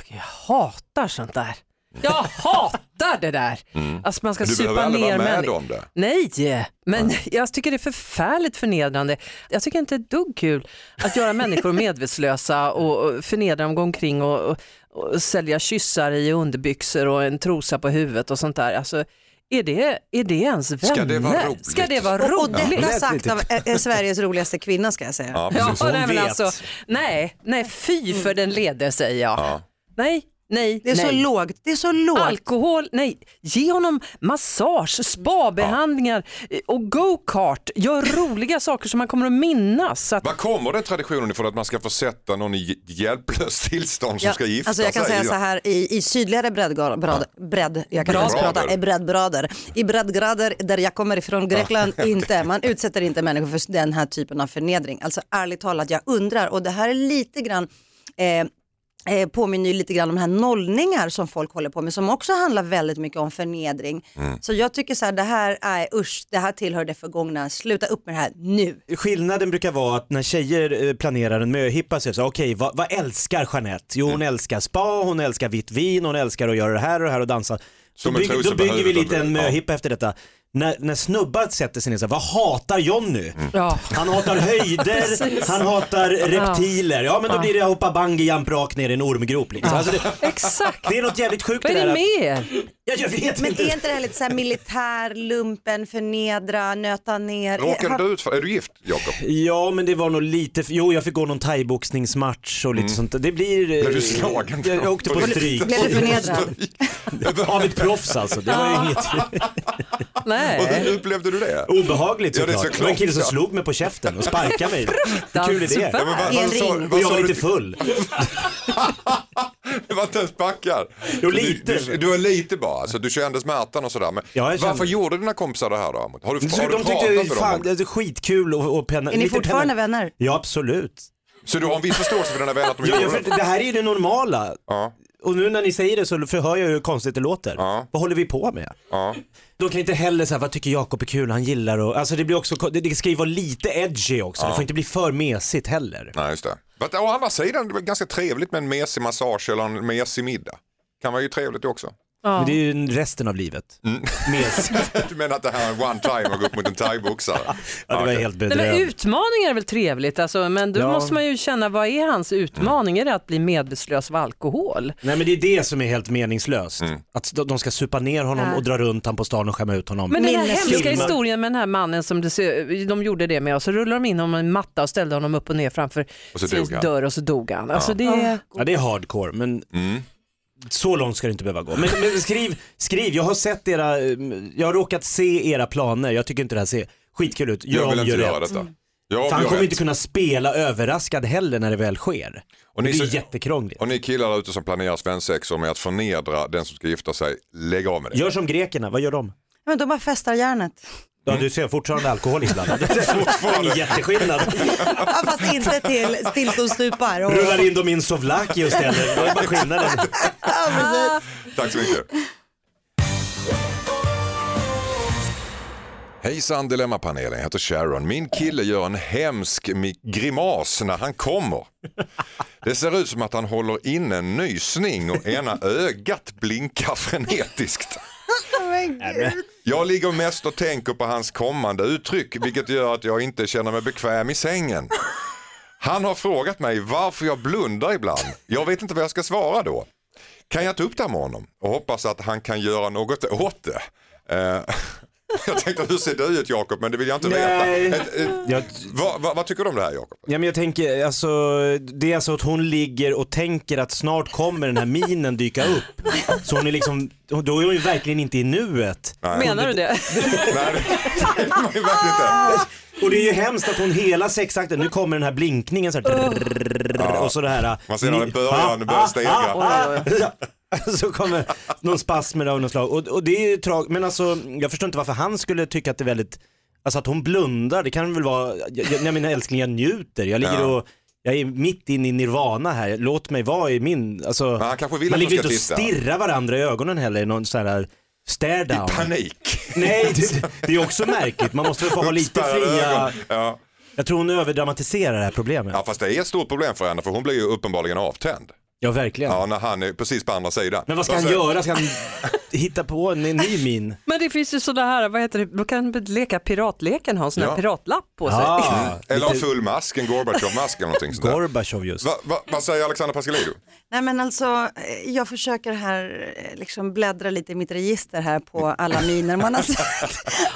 [SPEAKER 5] Jag hatar sånt där.
[SPEAKER 1] (laughs)
[SPEAKER 5] Jag hatar det där. Alltså man ska
[SPEAKER 1] Mm. Men du behöver
[SPEAKER 5] supa
[SPEAKER 1] aldrig vara
[SPEAKER 5] ner
[SPEAKER 1] med
[SPEAKER 5] människor.
[SPEAKER 1] om det.
[SPEAKER 5] Nej, men (laughs) jag tycker det är förfärligt förnedrande. Jag tycker inte det är ett dugg kul att göra människor medvetslösa och och förnedra dem, gå omkring och, och, och sälja kyssar i underbyxor och en trosa på huvudet och sånt där. Alltså, Är det, är det ens vänner?
[SPEAKER 1] Ska det vara roligt?
[SPEAKER 5] Ska det vara
[SPEAKER 6] Och, och
[SPEAKER 5] roligt?
[SPEAKER 6] detta
[SPEAKER 2] Ja.
[SPEAKER 6] sagt av eh, Sveriges roligaste kvinna ska jag säga.
[SPEAKER 1] Ja,
[SPEAKER 5] Ja,
[SPEAKER 1] precis.
[SPEAKER 2] hon
[SPEAKER 5] nej, men
[SPEAKER 2] vet.
[SPEAKER 5] alltså, nej, nej, fy för den lede säger jag.
[SPEAKER 1] Ja.
[SPEAKER 5] Nej, nej,
[SPEAKER 6] Det är
[SPEAKER 5] nej.
[SPEAKER 6] så lågt, det är så lågt.
[SPEAKER 5] Alkohol, nej, ge honom massage, spabehandlingar eh, och go-kart. Gör roliga saker som man kommer att minnas. Så att,
[SPEAKER 1] Var kommer den traditionen ifrån att man ska försätta någon i hj- hjälplöst tillstånd som
[SPEAKER 6] Ja,
[SPEAKER 1] ska gifta
[SPEAKER 6] alltså jag kan
[SPEAKER 1] sig?
[SPEAKER 6] säga så här i, i sydligare breddgrader, brad, bredd, jag kan inte ens
[SPEAKER 1] Breddgrader.
[SPEAKER 6] prata, i breddgrader, i breddgrader där jag kommer ifrån Grekland, (laughs) inte, man utsätter inte människor för den här typen av förnedring. Alltså ärligt talat, jag undrar och det här är lite grann eh, eh, påminner ju lite grann om de här nollningar som folk håller på med som också handlar väldigt mycket om förnedring. Så jag tycker så här, det här är usch, det här tillhör det förgångna, sluta upp med det här nu.
[SPEAKER 2] Skillnaden brukar vara att när tjejer eh, planerar en möhippa så är det så här, okej vad, vad älskar Jeanette? Jo hon älskar spa, hon älskar vitt vin, hon älskar att göra det här och det här och dansa. Då,
[SPEAKER 1] Som en
[SPEAKER 2] bygger- då
[SPEAKER 1] trosor
[SPEAKER 2] bygger vi
[SPEAKER 1] behöver
[SPEAKER 2] lite
[SPEAKER 1] de-
[SPEAKER 2] en
[SPEAKER 1] ja.
[SPEAKER 2] möhippa efter detta. När, när snubbar sätter sig ner så här, vad hatar Jonny?
[SPEAKER 5] ja.
[SPEAKER 2] Han hatar höjder, han hatar reptiler. Ja men då blir det hoppa bungyjump rakt ner i en ormgrop liksom. Alltså det,
[SPEAKER 1] (laughs)
[SPEAKER 5] Exakt,
[SPEAKER 2] det är något jävligt sjukt
[SPEAKER 5] vad
[SPEAKER 2] det
[SPEAKER 5] är det
[SPEAKER 2] där. att-
[SPEAKER 5] med er?
[SPEAKER 2] Ja, jag vet
[SPEAKER 6] (laughs) Men
[SPEAKER 2] inte.
[SPEAKER 6] är inte det här lite så här militär, lumpen, förnedra, nöta ner?
[SPEAKER 1] Råkade
[SPEAKER 6] Har-
[SPEAKER 1] du ut för, är du gift Jakob?
[SPEAKER 2] Ja men det var nog lite, jo jag fick gå någon thaiboxningsmatch och lite sånt där. Det blir... eh,
[SPEAKER 1] Mm. Blev du slagen?
[SPEAKER 2] Jag, jag åkte på stryk.
[SPEAKER 6] Blev du
[SPEAKER 1] (laughs)
[SPEAKER 6] förnedrad?
[SPEAKER 2] Av ett proffs alltså, det var ju inget
[SPEAKER 1] Och
[SPEAKER 5] Nej.
[SPEAKER 1] hur upplevde du det?
[SPEAKER 2] obehagligt
[SPEAKER 1] Ja, det är
[SPEAKER 2] såklart.
[SPEAKER 1] så
[SPEAKER 2] det, var en kille som
[SPEAKER 1] klart, ja.
[SPEAKER 2] slog mig på käften och sparkade mig. Hur kul är
[SPEAKER 1] Ja,
[SPEAKER 2] det?
[SPEAKER 1] men vad,
[SPEAKER 6] I en
[SPEAKER 1] vad sa,
[SPEAKER 6] ring.
[SPEAKER 2] Och
[SPEAKER 1] vad
[SPEAKER 2] jag
[SPEAKER 1] sa
[SPEAKER 2] var
[SPEAKER 1] du?
[SPEAKER 2] lite full.
[SPEAKER 1] (laughs) Det var inte ens backar.
[SPEAKER 2] Jo, lite.
[SPEAKER 1] Du, du, du var lite bara, alltså, du kände smärtan och sådär. Men
[SPEAKER 2] Ja, jag kände-
[SPEAKER 1] varför gjorde dina kompisar det här då? Har du,
[SPEAKER 2] Så
[SPEAKER 1] har du
[SPEAKER 2] de
[SPEAKER 1] pratat
[SPEAKER 2] tyckte
[SPEAKER 1] med
[SPEAKER 2] fan,
[SPEAKER 1] dem?
[SPEAKER 2] det
[SPEAKER 1] om-
[SPEAKER 2] är skitkul och, och penna.
[SPEAKER 6] Är ni
[SPEAKER 2] lite penna-
[SPEAKER 6] fortfarande vänner?
[SPEAKER 2] Ja absolut.
[SPEAKER 1] Så du har en viss förståelse för dina vänner att de
[SPEAKER 2] Ja,
[SPEAKER 1] gjorde
[SPEAKER 2] jag, för,
[SPEAKER 1] det?
[SPEAKER 2] det här är ju det normala.
[SPEAKER 1] Ja,
[SPEAKER 2] Och nu när ni säger det så förhör jag hur konstigt det låter.
[SPEAKER 1] Ja.
[SPEAKER 2] Vad håller vi på med?
[SPEAKER 1] ja.
[SPEAKER 2] De kan inte heller säga vad tycker Jakob är kul, han gillar och, alltså det blir också, det, det ska ju vara lite edgy också, det får inte bli för mesigt heller.
[SPEAKER 1] Nej, just det. But, å andra sidan, det var ganska trevligt med en mesig massage eller en mesig middag. Kan vara ju trevligt det också.
[SPEAKER 2] Men det är ju resten av livet.
[SPEAKER 1] Mm.
[SPEAKER 2] (laughs) Mesigt.
[SPEAKER 1] (laughs) Du menar att det här är en one time och gå upp mot en thaiboxare?
[SPEAKER 2] Ja, det var
[SPEAKER 1] okej.
[SPEAKER 2] helt
[SPEAKER 5] Nej, men
[SPEAKER 2] bedrövligt.
[SPEAKER 5] utmaningar är väl trevligt, alltså, men då
[SPEAKER 2] Ja.
[SPEAKER 5] måste man ju känna vad är hans utmaning? Är det att bli medvetslös av alkohol?
[SPEAKER 2] Nej men det är det som är helt meningslöst.
[SPEAKER 1] Mm.
[SPEAKER 2] Att de de ska supa ner honom och dra runt honom på stan och skämma ut honom.
[SPEAKER 5] Men den här
[SPEAKER 6] Minnes-
[SPEAKER 5] hemska
[SPEAKER 2] Filmar.
[SPEAKER 5] historien med den här mannen som det, ser- de gjorde det med och så rullade de in honom i en matta och ställde honom upp och ner framför
[SPEAKER 1] Och så
[SPEAKER 5] sin
[SPEAKER 1] dog han.
[SPEAKER 5] dörr och så dog han. Alltså det är...
[SPEAKER 2] Ja det är hardcore men
[SPEAKER 1] Mm.
[SPEAKER 2] så långt ska det inte behöva gå. Men, men skriv, skriv, jag har sett era, eh, jag har råkat se era planer, jag tycker inte det här ser skitkul ut. Gör
[SPEAKER 1] Jag
[SPEAKER 2] om,
[SPEAKER 1] vill inte
[SPEAKER 2] gör
[SPEAKER 1] göra
[SPEAKER 2] rätt.
[SPEAKER 1] detta. Jag
[SPEAKER 2] För han
[SPEAKER 1] gör
[SPEAKER 2] kommer
[SPEAKER 1] rätt.
[SPEAKER 2] inte kunna spela överraskad heller när det väl sker.
[SPEAKER 1] Och
[SPEAKER 2] det
[SPEAKER 1] ni
[SPEAKER 2] är
[SPEAKER 1] så-
[SPEAKER 2] jättekrångligt.
[SPEAKER 1] Och ni killar där ute som planerar svensexor med att förnedra den som ska gifta sig, lägg av med det.
[SPEAKER 2] Gör som grekerna, vad gör de?
[SPEAKER 6] Men de bara festar järnet.
[SPEAKER 2] Ja
[SPEAKER 1] Mm.
[SPEAKER 2] du ser fortfarande
[SPEAKER 1] (laughs)
[SPEAKER 2] alkohol inblandad. (laughs) Fortfarande. Jätteskillnad.
[SPEAKER 6] Ja, fast inte till stillståndsstupar. Och...
[SPEAKER 2] Rullar in dem i en sovlaki och ställer, det är bara skillnaden.
[SPEAKER 1] Tack så mycket. Hejsan Dilemmapanelen, jag heter Sharon. Min kille gör en hemsk mi- grimas när han kommer. Det ser ut som att han håller inne en nysning och ena ögat blinkar frenetiskt. Jag ligger mest och tänker på hans kommande uttryck vilket gör att jag inte känner mig bekväm i sängen. Han har frågat mig varför jag blundar ibland. Jag vet inte vad jag ska svara då. Kan jag ta upp det här med honom och hoppas att han kan göra något åt det? Eh, (laughs) jag tänkte hur ser du ut Jakob men det vill jag inte
[SPEAKER 2] Nej.
[SPEAKER 1] veta. Eh, eh,
[SPEAKER 2] Jag,
[SPEAKER 1] vad, vad, vad tycker du om det här Jakob?
[SPEAKER 2] ja, men jag tänker, alltså, det är alltså att hon ligger och tänker att snart kommer den här minen dyka upp. Så hon är liksom, då är hon ju verkligen inte i nuet.
[SPEAKER 5] Menar du det?
[SPEAKER 1] (laughs) Nej, det det var ju verkligen inte.
[SPEAKER 2] Och det är ju hemskt att hon hela sexakten, nu kommer den här blinkningen så här, drrrr, och så det här.
[SPEAKER 1] Man ser när den börjar,
[SPEAKER 2] Ah,
[SPEAKER 1] den börjar
[SPEAKER 2] ah,
[SPEAKER 1] stegra.
[SPEAKER 2] ah, ah. Så kommer någon spasmer av något slag. Och, och det är ju tragiskt, men alltså jag förstår inte varför han skulle tycka att det är väldigt, alltså att hon blundar, det kan väl vara, jag, jag, jag menar älskling jag njuter, jag ligger
[SPEAKER 1] Ja.
[SPEAKER 2] och jag är mitt inne i nirvana här, låt mig vara i min, alltså,
[SPEAKER 1] han kanske vill
[SPEAKER 2] man
[SPEAKER 1] att
[SPEAKER 2] ligger
[SPEAKER 1] hon
[SPEAKER 2] inte
[SPEAKER 1] ska
[SPEAKER 2] och
[SPEAKER 1] titta.
[SPEAKER 2] stirrar varandra i ögonen heller i någon sån här stare down.
[SPEAKER 1] Panik.
[SPEAKER 2] Nej, det, det är också märkligt, man måste väl få ha lite
[SPEAKER 1] Uppspärrade
[SPEAKER 2] fria,
[SPEAKER 1] ögon. Ja.
[SPEAKER 2] jag tror hon överdramatiserar det här problemet.
[SPEAKER 1] ja fast det är ett stort problem för henne för hon blir ju uppenbarligen avtänd.
[SPEAKER 2] Ja, verkligen.
[SPEAKER 1] Ja, när han är precis på andra sidan.
[SPEAKER 2] Men vad ska han
[SPEAKER 1] Alltså,
[SPEAKER 2] göra? Ska han hitta på
[SPEAKER 1] (laughs)
[SPEAKER 2] en ny min?
[SPEAKER 5] Men det finns ju sådana här, vad heter det, då kan man leka piratleken, ha en sån här
[SPEAKER 1] Ja.
[SPEAKER 5] piratlapp på sig.
[SPEAKER 2] Ah,
[SPEAKER 1] Mm. Eller ha
[SPEAKER 2] lite
[SPEAKER 1] full mask, en Gorbatjov-mask eller någonting sånt där.
[SPEAKER 2] Gorbatjov just.
[SPEAKER 1] Va, va, vad säger Alexander
[SPEAKER 6] (laughs)
[SPEAKER 1] Pascalidou?
[SPEAKER 6] Nej men alltså, eh, jag försöker här eh, liksom bläddra lite i mitt register här på alla miner man
[SPEAKER 2] (laughs)
[SPEAKER 6] har sett.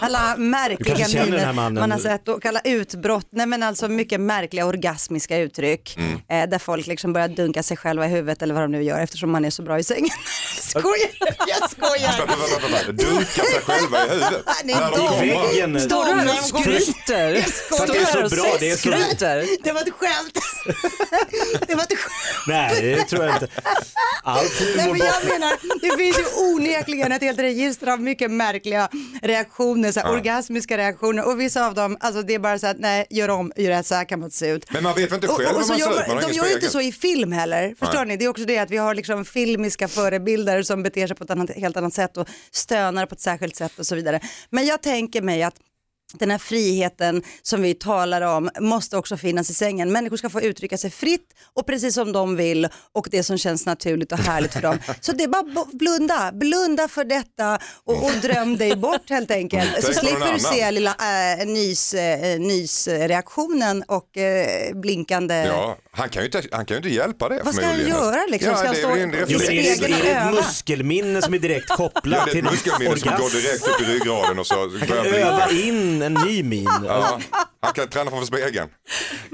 [SPEAKER 6] Alla märkliga
[SPEAKER 2] känner den här
[SPEAKER 6] miner
[SPEAKER 2] mannen.
[SPEAKER 6] man har sett och alla utbrott. Nej men alltså mycket märkliga orgasmiska uttryck
[SPEAKER 2] Mm.
[SPEAKER 6] eh, där folk liksom börjar dunka sig själva i huvudet eller vad de nu gör eftersom man är så bra i sängen. (laughs) skojar, jag skojar.
[SPEAKER 1] Vänta, vänta, vänta. Dunka sig själva i huvudet.
[SPEAKER 6] Nej,
[SPEAKER 1] När de
[SPEAKER 6] de-
[SPEAKER 2] I
[SPEAKER 1] kommer.
[SPEAKER 2] väggen.
[SPEAKER 5] (laughs) Står du här och
[SPEAKER 6] Stormen går in.
[SPEAKER 5] skryter?
[SPEAKER 6] skojar.
[SPEAKER 5] Står du här och
[SPEAKER 2] Det är så bra, det är så-
[SPEAKER 5] skryter?
[SPEAKER 6] Det var ett skämt. (laughs) Det var ett skämt.
[SPEAKER 2] Nej, det tror jag inte. Allt
[SPEAKER 6] Nej,
[SPEAKER 2] humor
[SPEAKER 6] men jag menar, det finns ju onekligen ett helt register av mycket märkliga reaktioner, så här, orgasmiska reaktioner och vissa av dem, alltså det är bara så att nej, gör om, gör rätt, så här kan man inte se ut.
[SPEAKER 1] Men man vet väl inte
[SPEAKER 6] Och,
[SPEAKER 1] själv
[SPEAKER 6] och
[SPEAKER 1] hur
[SPEAKER 6] så
[SPEAKER 1] man ser ut,
[SPEAKER 6] gör,
[SPEAKER 1] man har
[SPEAKER 6] man- de
[SPEAKER 1] ingen
[SPEAKER 6] gör ju
[SPEAKER 1] spegel.
[SPEAKER 6] inte så i film heller, förstår ni? Det är också det att vi har liksom filmiska förebilder som beter sig på ett annat, helt annat sätt och stönar på ett särskilt sätt och så vidare. Men jag tänker mig att den här friheten som vi talar om måste också finnas i sängen. Människor ska få uttrycka sig fritt och precis som de vill och det som känns naturligt och härligt för dem. Så det är bara bo- blunda, blunda för detta och, och dröm dig bort helt enkelt. Så
[SPEAKER 1] Tänk på någon
[SPEAKER 6] slipper du se
[SPEAKER 1] annan.
[SPEAKER 6] lilla äh, nysreaktionen äh, nys, eh, reaktionen och eh, blinkande.
[SPEAKER 1] Ja, han kan ju inte, han kan ju inte hjälpa det
[SPEAKER 6] Vad ska
[SPEAKER 1] förmodligen.
[SPEAKER 6] han göra, liksom?
[SPEAKER 1] Ja,
[SPEAKER 6] Ska han
[SPEAKER 1] det är
[SPEAKER 6] stå
[SPEAKER 1] ju en
[SPEAKER 6] i
[SPEAKER 2] Jo,
[SPEAKER 1] reflex.
[SPEAKER 2] men är, det- är det ett
[SPEAKER 6] Öva.
[SPEAKER 2] muskelminne som är direkt
[SPEAKER 1] Ja,
[SPEAKER 2] kopplat
[SPEAKER 1] (laughs) det är
[SPEAKER 2] till
[SPEAKER 1] ett muskelminne som går
[SPEAKER 2] orgasm?
[SPEAKER 1] direkt upp i ryggraden och så
[SPEAKER 2] Han kan
[SPEAKER 1] börjar
[SPEAKER 2] öva
[SPEAKER 1] blinka.
[SPEAKER 2] in en ny min.
[SPEAKER 6] (laughs)
[SPEAKER 1] Ja, han kan träna framför spegeln.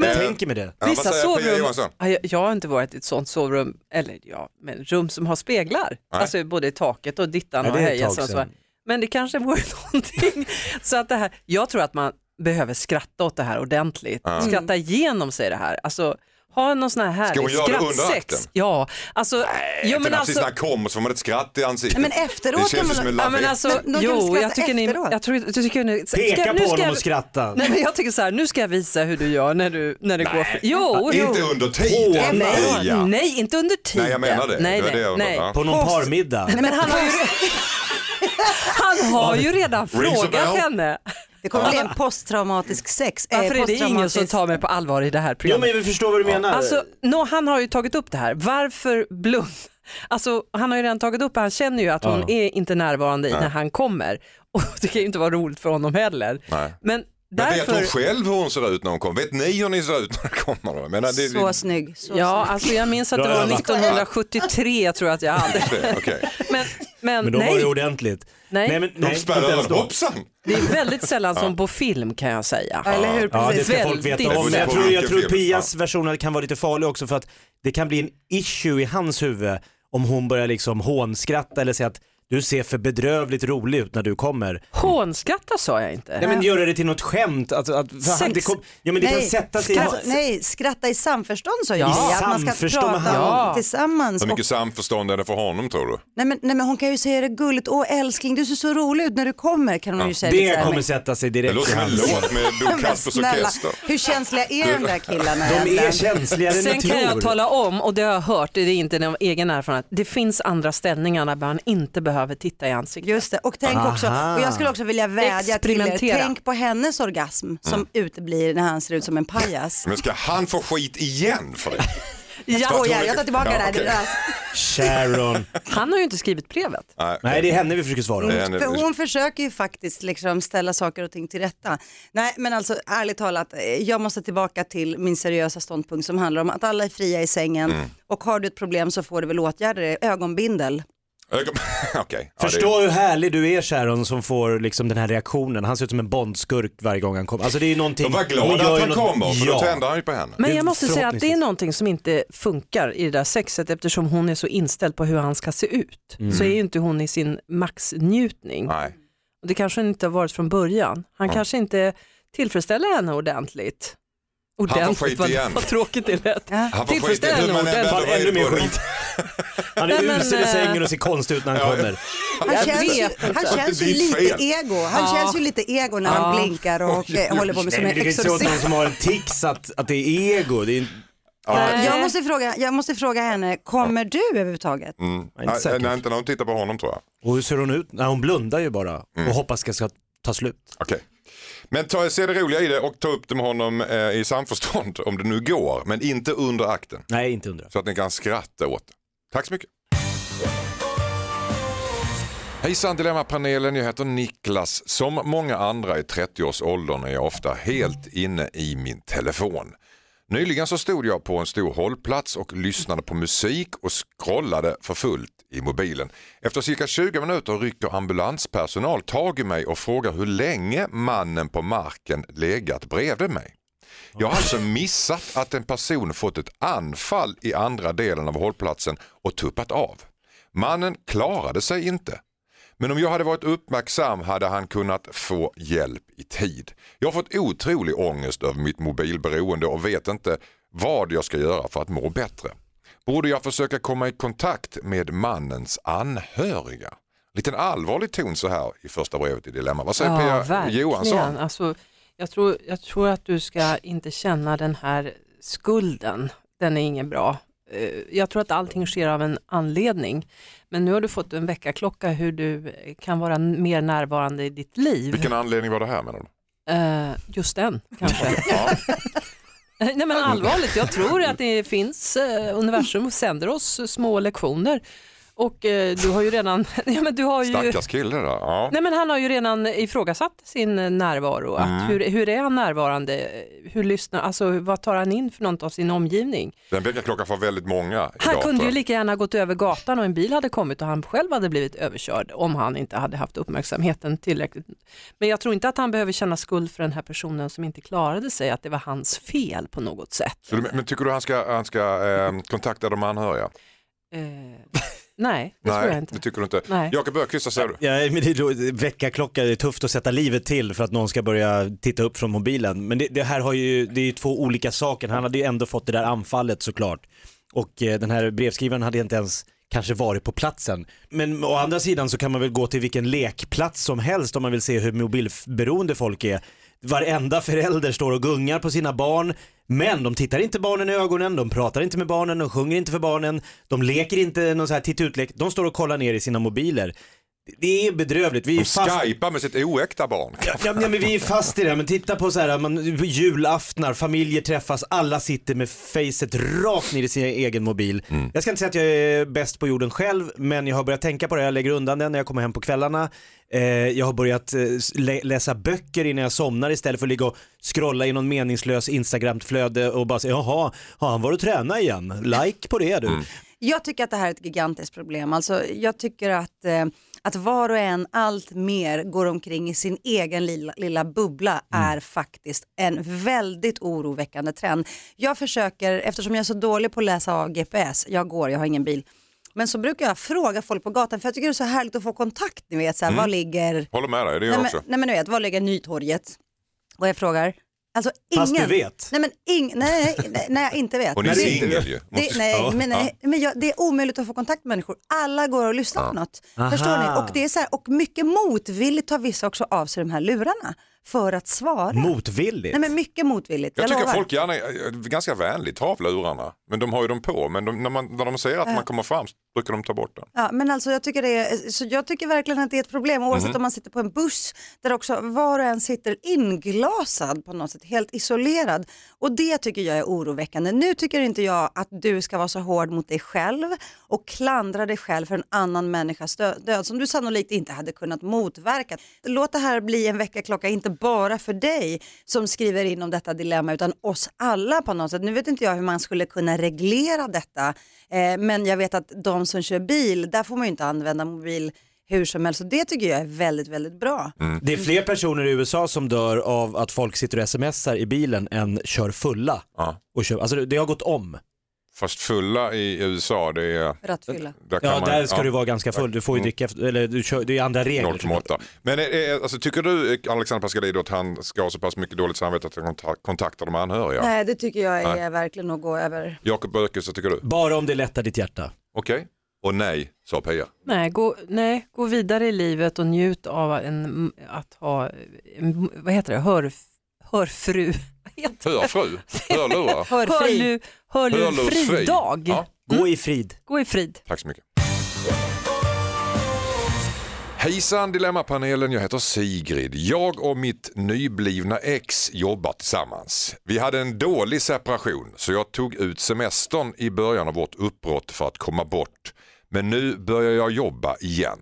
[SPEAKER 1] Eh,
[SPEAKER 2] Jag tänker mig det.
[SPEAKER 1] Ja, vad
[SPEAKER 5] Vissa
[SPEAKER 1] säger Pia
[SPEAKER 5] sovrum,
[SPEAKER 1] Johansson?
[SPEAKER 5] Ja, jag, jag har inte varit i ett sånt sovrum, eller ja, men rum som har speglar. Alltså både i taket och dittan
[SPEAKER 2] Ja,
[SPEAKER 5] och
[SPEAKER 2] det är ett
[SPEAKER 5] hejan.
[SPEAKER 2] tag
[SPEAKER 5] så- så.
[SPEAKER 2] sedan.
[SPEAKER 5] Men det kanske vore (laughs) någonting. Så att det här, jag tror att man behöver skratta åt det här ordentligt. Skratta igenom sig det här. Alltså, ha någon sån här
[SPEAKER 1] hon
[SPEAKER 5] härlig
[SPEAKER 1] göra det under
[SPEAKER 5] skrattsex.
[SPEAKER 1] akten?
[SPEAKER 5] Ja, alltså, jo,
[SPEAKER 1] Inte
[SPEAKER 5] men
[SPEAKER 1] när precis
[SPEAKER 5] alltså
[SPEAKER 1] när han kommer så får man ett skratt i ansiktet.
[SPEAKER 6] Nej, men
[SPEAKER 1] det
[SPEAKER 6] efteråt
[SPEAKER 1] känns ju
[SPEAKER 6] kan
[SPEAKER 1] som
[SPEAKER 6] man-
[SPEAKER 1] en
[SPEAKER 5] Ja, men
[SPEAKER 1] lavett.
[SPEAKER 5] alltså,
[SPEAKER 6] Men de kan
[SPEAKER 5] jo,
[SPEAKER 6] skratta
[SPEAKER 5] jag tycker ni,
[SPEAKER 6] efteråt.
[SPEAKER 5] jag tror, jag tycker ni, ska-
[SPEAKER 2] Peka
[SPEAKER 5] nu
[SPEAKER 2] på
[SPEAKER 5] ska
[SPEAKER 2] honom
[SPEAKER 5] jag-
[SPEAKER 2] och skratta.
[SPEAKER 5] (laughs) Nej, men jag tycker så här, nu ska jag visa hur du gör när du, när det går. För, jo, jo.
[SPEAKER 1] Inte under tiden.
[SPEAKER 5] Nej,
[SPEAKER 1] Pia.
[SPEAKER 5] nej, inte under tiden.
[SPEAKER 1] Nej, jag menar det.
[SPEAKER 5] Nej,
[SPEAKER 1] Det var
[SPEAKER 5] nej,
[SPEAKER 1] det jag
[SPEAKER 5] nej.
[SPEAKER 1] undrade.
[SPEAKER 2] På någon parmiddag.
[SPEAKER 5] Nej, men han har ju, han har ju redan
[SPEAKER 1] a bell.
[SPEAKER 5] frågat henne.
[SPEAKER 6] Det kommer bli en posttraumatisk sex. eh,
[SPEAKER 5] Varför är det ingen som
[SPEAKER 6] posttraumatisk-
[SPEAKER 5] tar mig på allvar i det här
[SPEAKER 2] Jo,
[SPEAKER 5] programmet?
[SPEAKER 2] men vi förstår vad du menar.
[SPEAKER 5] Alltså, no, han har ju tagit upp det här. Varför blund? Alltså, han har ju redan tagit upp det. Han känner ju att hon är inte närvarande i när han kommer. (laughs) Och det kan ju inte vara roligt för honom heller.
[SPEAKER 1] Nej.
[SPEAKER 5] Men
[SPEAKER 1] Men vet
[SPEAKER 5] därför...
[SPEAKER 1] hon själv hur hon ser ut när hon kommer? Vet ni hur ni ser ut när ni kommer? Jag menar, det,
[SPEAKER 6] Så snygg. Så
[SPEAKER 5] Ja,
[SPEAKER 6] snygg.
[SPEAKER 5] alltså jag minns att
[SPEAKER 2] Bra
[SPEAKER 5] det var
[SPEAKER 2] jobbat.
[SPEAKER 5] 1973 jag tror jag att jag hade.
[SPEAKER 1] det, okej.
[SPEAKER 5] Men, men,
[SPEAKER 2] men då var
[SPEAKER 5] nej,
[SPEAKER 2] det ordentligt.
[SPEAKER 5] Nej.
[SPEAKER 2] men,
[SPEAKER 1] De spärrar
[SPEAKER 2] inte ens
[SPEAKER 1] över
[SPEAKER 2] då.
[SPEAKER 1] hoppsan.
[SPEAKER 5] det är väldigt sällan som på film kan jag säga.
[SPEAKER 6] Eller hur?
[SPEAKER 2] Ja, det
[SPEAKER 6] Precis.
[SPEAKER 2] ska folk
[SPEAKER 5] Väldigt.
[SPEAKER 2] veta om. Men jag
[SPEAKER 1] Det
[SPEAKER 2] tror,
[SPEAKER 1] beror
[SPEAKER 2] jag
[SPEAKER 1] på
[SPEAKER 2] tror
[SPEAKER 1] vilken film.
[SPEAKER 2] Pias version kan vara lite farlig också för att det kan bli en issue i hans huvud om hon börjar liksom hånskratta eller säga att du ser för bedrövligt rolig ut när du kommer.
[SPEAKER 5] Hånskratta sa jag inte.
[SPEAKER 2] Nej men göra det till något skämt. alltså Att, att, för han,
[SPEAKER 5] Sex.
[SPEAKER 2] det kom, ja men det kan
[SPEAKER 6] Nej,
[SPEAKER 2] sätta sig i...
[SPEAKER 6] skratta, nej, skratta i samförstånd sa
[SPEAKER 5] I
[SPEAKER 6] jag. att man ska
[SPEAKER 2] samförstånd med
[SPEAKER 6] prata
[SPEAKER 5] han.
[SPEAKER 6] om tillsammans.
[SPEAKER 1] Hur
[SPEAKER 6] Och,
[SPEAKER 1] mycket samförstånd är det för honom tror du?
[SPEAKER 6] nej, men, nej men hon kan ju säga det gulligt, åh älskling du ser så rolig ut när du kommer kan hon ju säga. lite så
[SPEAKER 2] Det
[SPEAKER 5] liksom-
[SPEAKER 6] här.
[SPEAKER 2] kommer sätta sig
[SPEAKER 1] Det
[SPEAKER 2] direkt
[SPEAKER 1] låter
[SPEAKER 2] i
[SPEAKER 1] som en
[SPEAKER 2] halsen.
[SPEAKER 1] låt med Bo
[SPEAKER 6] Men
[SPEAKER 1] Kaspers
[SPEAKER 6] snälla,
[SPEAKER 1] Orkester.
[SPEAKER 6] hur känsliga är de där killarna
[SPEAKER 2] De är
[SPEAKER 6] egentligen?
[SPEAKER 2] känsligare än
[SPEAKER 5] Sen
[SPEAKER 2] jag
[SPEAKER 5] kan jag
[SPEAKER 2] tror.
[SPEAKER 5] tala om, och det har jag hört, det är inte någon egen erfarenhet, det finns andra ställningar där man inte behöver titta i ansiktet.
[SPEAKER 6] Just det, och tänk också,
[SPEAKER 2] Aha.
[SPEAKER 6] och jag skulle också vilja vädja till er,
[SPEAKER 5] Experimentera.
[SPEAKER 6] tänk på hennes orgasm som
[SPEAKER 2] Mm.
[SPEAKER 6] uteblir när han ser ut som en pajas.
[SPEAKER 1] Men ska han få skit igen för det?
[SPEAKER 5] Ja,
[SPEAKER 6] Oj, ja, jag tar tillbaka
[SPEAKER 1] Ja,
[SPEAKER 6] det här. Alltså,
[SPEAKER 1] okej.
[SPEAKER 6] Det där.
[SPEAKER 2] Sharon.
[SPEAKER 5] han har ju inte skrivit brevet.
[SPEAKER 2] Nej det är henne vi försöker
[SPEAKER 1] Det
[SPEAKER 2] svara. åt.
[SPEAKER 1] är en-
[SPEAKER 6] För hon försöker ju faktiskt liksom ställa saker och ting till rätta. Nej men alltså ärligt talat, eh, jag måste tillbaka till min seriösa ståndpunkt som handlar om att alla är fria i sängen
[SPEAKER 1] Mm.
[SPEAKER 6] och har du ett problem så får du väl åtgärda det. Ögonbindel.
[SPEAKER 1] Ögon- (laughs) Okej. Ja, det-
[SPEAKER 2] Förstå hur härlig du är Sharon som får liksom den här reaktionen. Han ser ut som en Bondskurk varje gång han kommer. Alltså det är någonting.
[SPEAKER 1] Och var
[SPEAKER 2] hon
[SPEAKER 1] glad
[SPEAKER 2] gör
[SPEAKER 1] att
[SPEAKER 2] ju
[SPEAKER 1] han
[SPEAKER 2] något-
[SPEAKER 1] kommer för
[SPEAKER 2] ja.
[SPEAKER 1] då tänder han ju på henne.
[SPEAKER 5] Men
[SPEAKER 2] Det-
[SPEAKER 5] jag måste säga att det är
[SPEAKER 2] förhoppningsvis.
[SPEAKER 5] någonting som inte funkar i det där sexet eftersom hon är så inställd på hur han ska se ut.
[SPEAKER 2] Mm.
[SPEAKER 5] Så är ju inte hon i sin maxnjutning.
[SPEAKER 1] Nej.
[SPEAKER 5] Och det kanske inte har varit från början. Han kanske inte tillfredsställer henne ordentligt.
[SPEAKER 1] skit
[SPEAKER 5] vad,
[SPEAKER 1] igen.
[SPEAKER 5] vad tråkigt det lät.
[SPEAKER 1] Han får skit
[SPEAKER 5] Tillfredsställer
[SPEAKER 1] igen
[SPEAKER 5] henne
[SPEAKER 1] hur man än
[SPEAKER 5] ordentligt.
[SPEAKER 2] Fan,
[SPEAKER 1] vänder
[SPEAKER 2] ännu mer
[SPEAKER 1] på det.
[SPEAKER 2] skit. (laughs) Han är
[SPEAKER 5] Nej, men,
[SPEAKER 2] usel i
[SPEAKER 5] eh,
[SPEAKER 2] sängen och ser konstig ut när han kommer.
[SPEAKER 6] Han känns, ju-
[SPEAKER 5] vet
[SPEAKER 6] han känns ju
[SPEAKER 1] Alltså, Det är ditt
[SPEAKER 6] lite
[SPEAKER 1] fel.
[SPEAKER 6] ego. Han känns ju lite ego när han blinkar och eh, håller på
[SPEAKER 2] Nej,
[SPEAKER 6] med som
[SPEAKER 2] men
[SPEAKER 6] en
[SPEAKER 2] du kan inte säga åt någon
[SPEAKER 6] exorcist.
[SPEAKER 2] som har en tics att, att det är ego. Det är,
[SPEAKER 5] Nej.
[SPEAKER 6] Jag måste, fråga, jag måste fråga henne, kommer du överhuvudtaget?
[SPEAKER 2] är inte
[SPEAKER 1] Nej,
[SPEAKER 2] säker.
[SPEAKER 1] nej, inte när hon tittar på honom tror jag.
[SPEAKER 2] Mm. och hur ser hon ut? Nej, hon blundar ju bara och hoppas det ska ta slut.
[SPEAKER 1] Okej. Men ta, se det roliga i det och ta upp det med honom eh, i samförstånd om det nu går. Men inte under akten.
[SPEAKER 2] Nej, inte undra.
[SPEAKER 1] Så att ni kan skratta åt det. Tack så mycket. Hejsan Dilemmapanelen, jag heter Niklas. Som många andra i 30-årsåldern är jag ofta helt inne i min telefon. Nyligen så stod jag på en stor hållplats och lyssnade på musik och scrollade för fullt i mobilen. Efter cirka 20 minuter rycker ambulanspersonal tag i mig och frågar hur länge mannen på marken legat bredvid mig. Jag har alltså missat att en person fått ett anfall i andra delen av hållplatsen och tuppat av. Mannen klarade sig inte. Men om jag hade varit uppmärksam hade han kunnat få hjälp i tid. Jag har fått otrolig ångest över mitt mobilberoende och vet inte vad jag ska göra för att må bättre. Borde jag försöka komma i kontakt med mannens anhöriga? Liten allvarlig ton så här i första brevet i Dilemma. Vad säger Pia
[SPEAKER 5] verkligen.
[SPEAKER 1] Johansson?
[SPEAKER 5] Alltså, jag, tror, jag tror att du ska inte känna den här skulden. Den är ingen bra. Eh, Jag tror att allting sker av en anledning. Men nu har du fått en väckarklocka hur du eh, kan vara n- mer närvarande i ditt liv.
[SPEAKER 1] Vilken anledning var det här menar du?
[SPEAKER 5] Eh, Just den
[SPEAKER 1] (laughs)
[SPEAKER 5] kanske. Eh,
[SPEAKER 1] Ja.
[SPEAKER 5] Nej men allvarligt, jag tror att det finns eh, universum och sänder oss små lektioner. Och eh, du har ju redan, (laughs) ja men du har ju...
[SPEAKER 1] Stackars kille där. Ja.
[SPEAKER 5] Nej, men han har ju redan ifrågasatt sin närvaro.
[SPEAKER 1] Mm.
[SPEAKER 5] Att hur, hur är han närvarande? Hur lyssnar, alltså, vad tar han in för något av sin omgivning?
[SPEAKER 1] Den väckarklockan för väldigt många
[SPEAKER 5] Han
[SPEAKER 1] idag.
[SPEAKER 5] kunde
[SPEAKER 1] tror
[SPEAKER 5] ju
[SPEAKER 1] jag.
[SPEAKER 5] lika gärna gått över gatan och en bil hade kommit och han själv hade blivit överkörd om han inte hade haft uppmärksamheten tillräckligt. Men jag tror inte att han behöver känna skuld för den här personen som inte klarade sig, att det var hans fel på något sätt.
[SPEAKER 1] Så du- men tycker du han ska, han ska eh, kontakta de anhöriga?
[SPEAKER 5] Eh, nej, det tror jag
[SPEAKER 1] det
[SPEAKER 5] inte.
[SPEAKER 1] tycker du inte.
[SPEAKER 5] Nej.
[SPEAKER 1] Jakob Öqvist, vad säger du?
[SPEAKER 2] Ja, men det är då, väckarklocka, det är tufft att sätta livet till för att någon ska börja titta upp från mobilen. Men det, det här har ju, det är ju två olika saker. Han hade ju ändå fått det där anfallet såklart. Och eh, den här brevskrivaren hade inte ens kanske varit på platsen. Men å andra sidan så kan man väl gå till vilken lekplats som helst om man vill se hur mobilberoende folk är. Varenda förälder står och gungar på sina barn, men de tittar inte barnen i ögonen, de pratar inte med barnen, de sjunger inte för barnen, de leker inte någon så här titt-ut-lek, de står och kollar ner i sina mobiler. Det är bedrövligt. Vi är
[SPEAKER 1] De
[SPEAKER 2] fast...
[SPEAKER 1] skypar med sitt oäkta barn.
[SPEAKER 2] Ja, men, ja, men vi är fast i det här, men titta på så här, man, på julaftnar, familjer träffas, alla sitter med facet rakt ner i sin egen mobil. Jag ska inte säga att jag är bäst på jorden själv, men jag har börjat tänka på det, jag lägger undan den när jag kommer hem på kvällarna. Eh, jag har börjat eh, lä- läsa böcker innan jag somnar istället för att ligga och scrolla i någon meningslös Instagram-flöde och bara säga jaha, har han varit och tränat igen? Like på det du.
[SPEAKER 6] Jag tycker att det här är ett gigantiskt problem. Alltså, jag tycker att, eh, att var och en allt mer går omkring i sin egen lilla, lilla bubbla
[SPEAKER 1] Mm.
[SPEAKER 6] är faktiskt en väldigt oroväckande trend. Jag försöker, eftersom jag är så dålig på att läsa av GPS, jag går, jag har ingen bil, men så brukar jag fråga folk på gatan för jag tycker det är så härligt att få kontakt, ni vet, så här, var ligger,
[SPEAKER 1] Håller med dig, det gör
[SPEAKER 6] nej
[SPEAKER 1] Mm. jag
[SPEAKER 6] men,
[SPEAKER 1] också.
[SPEAKER 6] nej men du vet, var ligger Nytorget? Och jag frågar, alltså ingen,
[SPEAKER 2] Fast du vet.
[SPEAKER 6] nej men ing, nej, nej, nej, jag inte vet.
[SPEAKER 1] Och ni är
[SPEAKER 6] Men det-
[SPEAKER 1] singel ju.
[SPEAKER 6] det,
[SPEAKER 1] Måste-
[SPEAKER 6] nej,
[SPEAKER 1] Ja.
[SPEAKER 6] men, nej, men jag, det är omöjligt att få kontakt med människor. Alla går och lyssnar på något. Förstår ni? Och, det är så här, och mycket motvilligt tar vissa också av sig de här lurarna för att svara.
[SPEAKER 2] Motvilligt.
[SPEAKER 6] nej, men mycket motvilligt.
[SPEAKER 1] Jag
[SPEAKER 6] Jag,
[SPEAKER 1] tycker
[SPEAKER 6] lovar.
[SPEAKER 1] folk gärna är eh, ganska vänligt har av lurarna. Men de har ju dem på. Men de, när, man, när de ser att man kommer fram så brukar de ta bort den.
[SPEAKER 6] Ja, men alltså jag tycker, det är, så jag tycker verkligen att det är ett problem oavsett
[SPEAKER 1] Mhm.
[SPEAKER 6] om man sitter på en buss där också var och en sitter inglasad på något sätt, helt isolerad. Och det tycker jag är oroväckande. Nu tycker inte jag att du ska vara så hård mot dig själv och klandra dig själv för en annan människas dö- död som du sannolikt inte hade kunnat motverka. Låt det här bli en väckarklocka, inte bara för dig som skriver in om detta dilemma utan oss alla på något sätt. Nu vet inte jag hur man skulle kunna reglera detta eh, men jag vet att de som kör bil, där får man ju inte använda mobil hur som helst och det tycker jag är väldigt, väldigt bra.
[SPEAKER 2] Det är fler personer i USA som dör av att folk sitter och smsar i bilen än kör fulla.
[SPEAKER 1] Ja.
[SPEAKER 2] Och kör, alltså det- det har gått om.
[SPEAKER 1] Fast fulla i USA, det är...
[SPEAKER 6] Rattfylla.
[SPEAKER 1] Där kan
[SPEAKER 2] Ja,
[SPEAKER 1] man,
[SPEAKER 2] där ska
[SPEAKER 1] ja.
[SPEAKER 2] du vara ganska full. Du får ju
[SPEAKER 1] Mm.
[SPEAKER 2] dricka, efter- eller du kör, det är andra regler.
[SPEAKER 1] 0,8. Men eh, eh, alltså, tycker du eh, Alexander Pascalidou att han ska ha så pass mycket dåligt samvete att han kontak- kontaktar de anhöriga?
[SPEAKER 6] Nej, det tycker jag är verkligen att gå över.
[SPEAKER 1] Jakob Öqvist, vad tycker du?
[SPEAKER 2] Bara om det lättar ditt hjärta.
[SPEAKER 1] Okej. Och nej, sa Pia.
[SPEAKER 5] Nej gå, nej, gå vidare i livet och njut av en, att ha, en, vad heter det, hör, hörfru, vad heter
[SPEAKER 1] Hör fru, hör lurar.
[SPEAKER 5] det?
[SPEAKER 6] Hörfri.
[SPEAKER 5] Hörlu, hörlurfri dag.
[SPEAKER 1] Ja,
[SPEAKER 2] Mm. Gå i frid.
[SPEAKER 5] Gå i frid.
[SPEAKER 1] tack så mycket. Hejsan Dilemmapanelen, jag heter Sigrid. Jag och mitt nyblivna ex jobbar tillsammans. Vi hade en dålig separation så jag tog ut semestern i början av vårt uppbrott för att komma bort. Men nu börjar jag jobba igen.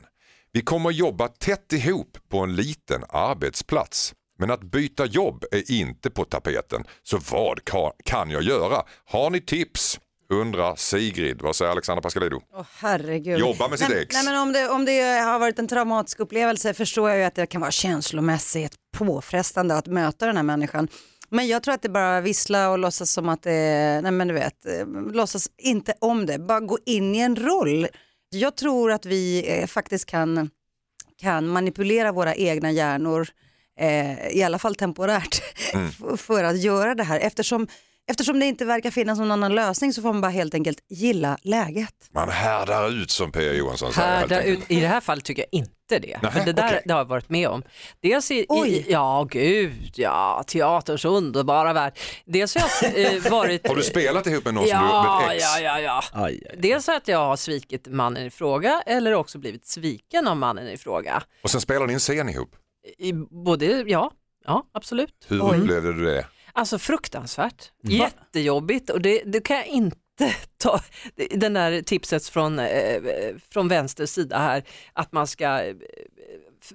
[SPEAKER 1] Vi kommer jobba tätt ihop på en liten arbetsplats. Men att byta jobb är inte på tapeten. Så vad ka- kan jag göra? Har ni tips? Undrar Sigrid. Vad säger Alexandra Pascalidou?
[SPEAKER 6] Åh herregud.
[SPEAKER 1] Jobba med sitt
[SPEAKER 6] nej,
[SPEAKER 1] ex.
[SPEAKER 6] Nej, men om, det, om det har varit en traumatisk upplevelse förstår jag ju att det kan vara känslomässigt påfrestande att möta den här människan. Men jag tror att det är bara att vissla och låtsas som att det är, nej men du vet, eh, låtsas inte om det, bara gå in i en roll. Jag tror att vi eh, faktiskt kan, kan manipulera våra egna hjärnor, eh, i alla fall temporärt, (laughs)
[SPEAKER 1] Mm.
[SPEAKER 6] f- för att göra det här. Eftersom, eftersom det inte verkar finnas någon annan lösning så får man bara helt enkelt gilla läget.
[SPEAKER 1] Man härdar ut som P.A. Johansson säger. helt
[SPEAKER 5] Härda
[SPEAKER 1] enkelt.
[SPEAKER 5] ut. I det här fallet tycker jag inte det.
[SPEAKER 1] Alltså, Nej,
[SPEAKER 5] för det där
[SPEAKER 1] okej.
[SPEAKER 5] det har jag varit med om. Dels i,
[SPEAKER 6] Oj.
[SPEAKER 5] i, ja gud, ja teaterns underbara värld. Dels har
[SPEAKER 1] (laughs)
[SPEAKER 5] jag eh, varit...
[SPEAKER 1] Har du spelat ihop med någon som du,
[SPEAKER 5] Ja,
[SPEAKER 1] med ett ex?
[SPEAKER 5] ja, ja, ja.
[SPEAKER 2] Aj, aj.
[SPEAKER 5] Dels att jag har svikit mannen i fråga eller också blivit sviken av mannen i fråga.
[SPEAKER 1] Och sen spelar ni en scen ihop.
[SPEAKER 5] I både, ja, ja absolut.
[SPEAKER 1] Hur upplevde du det?
[SPEAKER 5] Alltså fruktansvärt, jättejobbigt och det, det kan jag inte (laughs) ta, den där tipset från, eh, från vänster sida här, att man ska eh,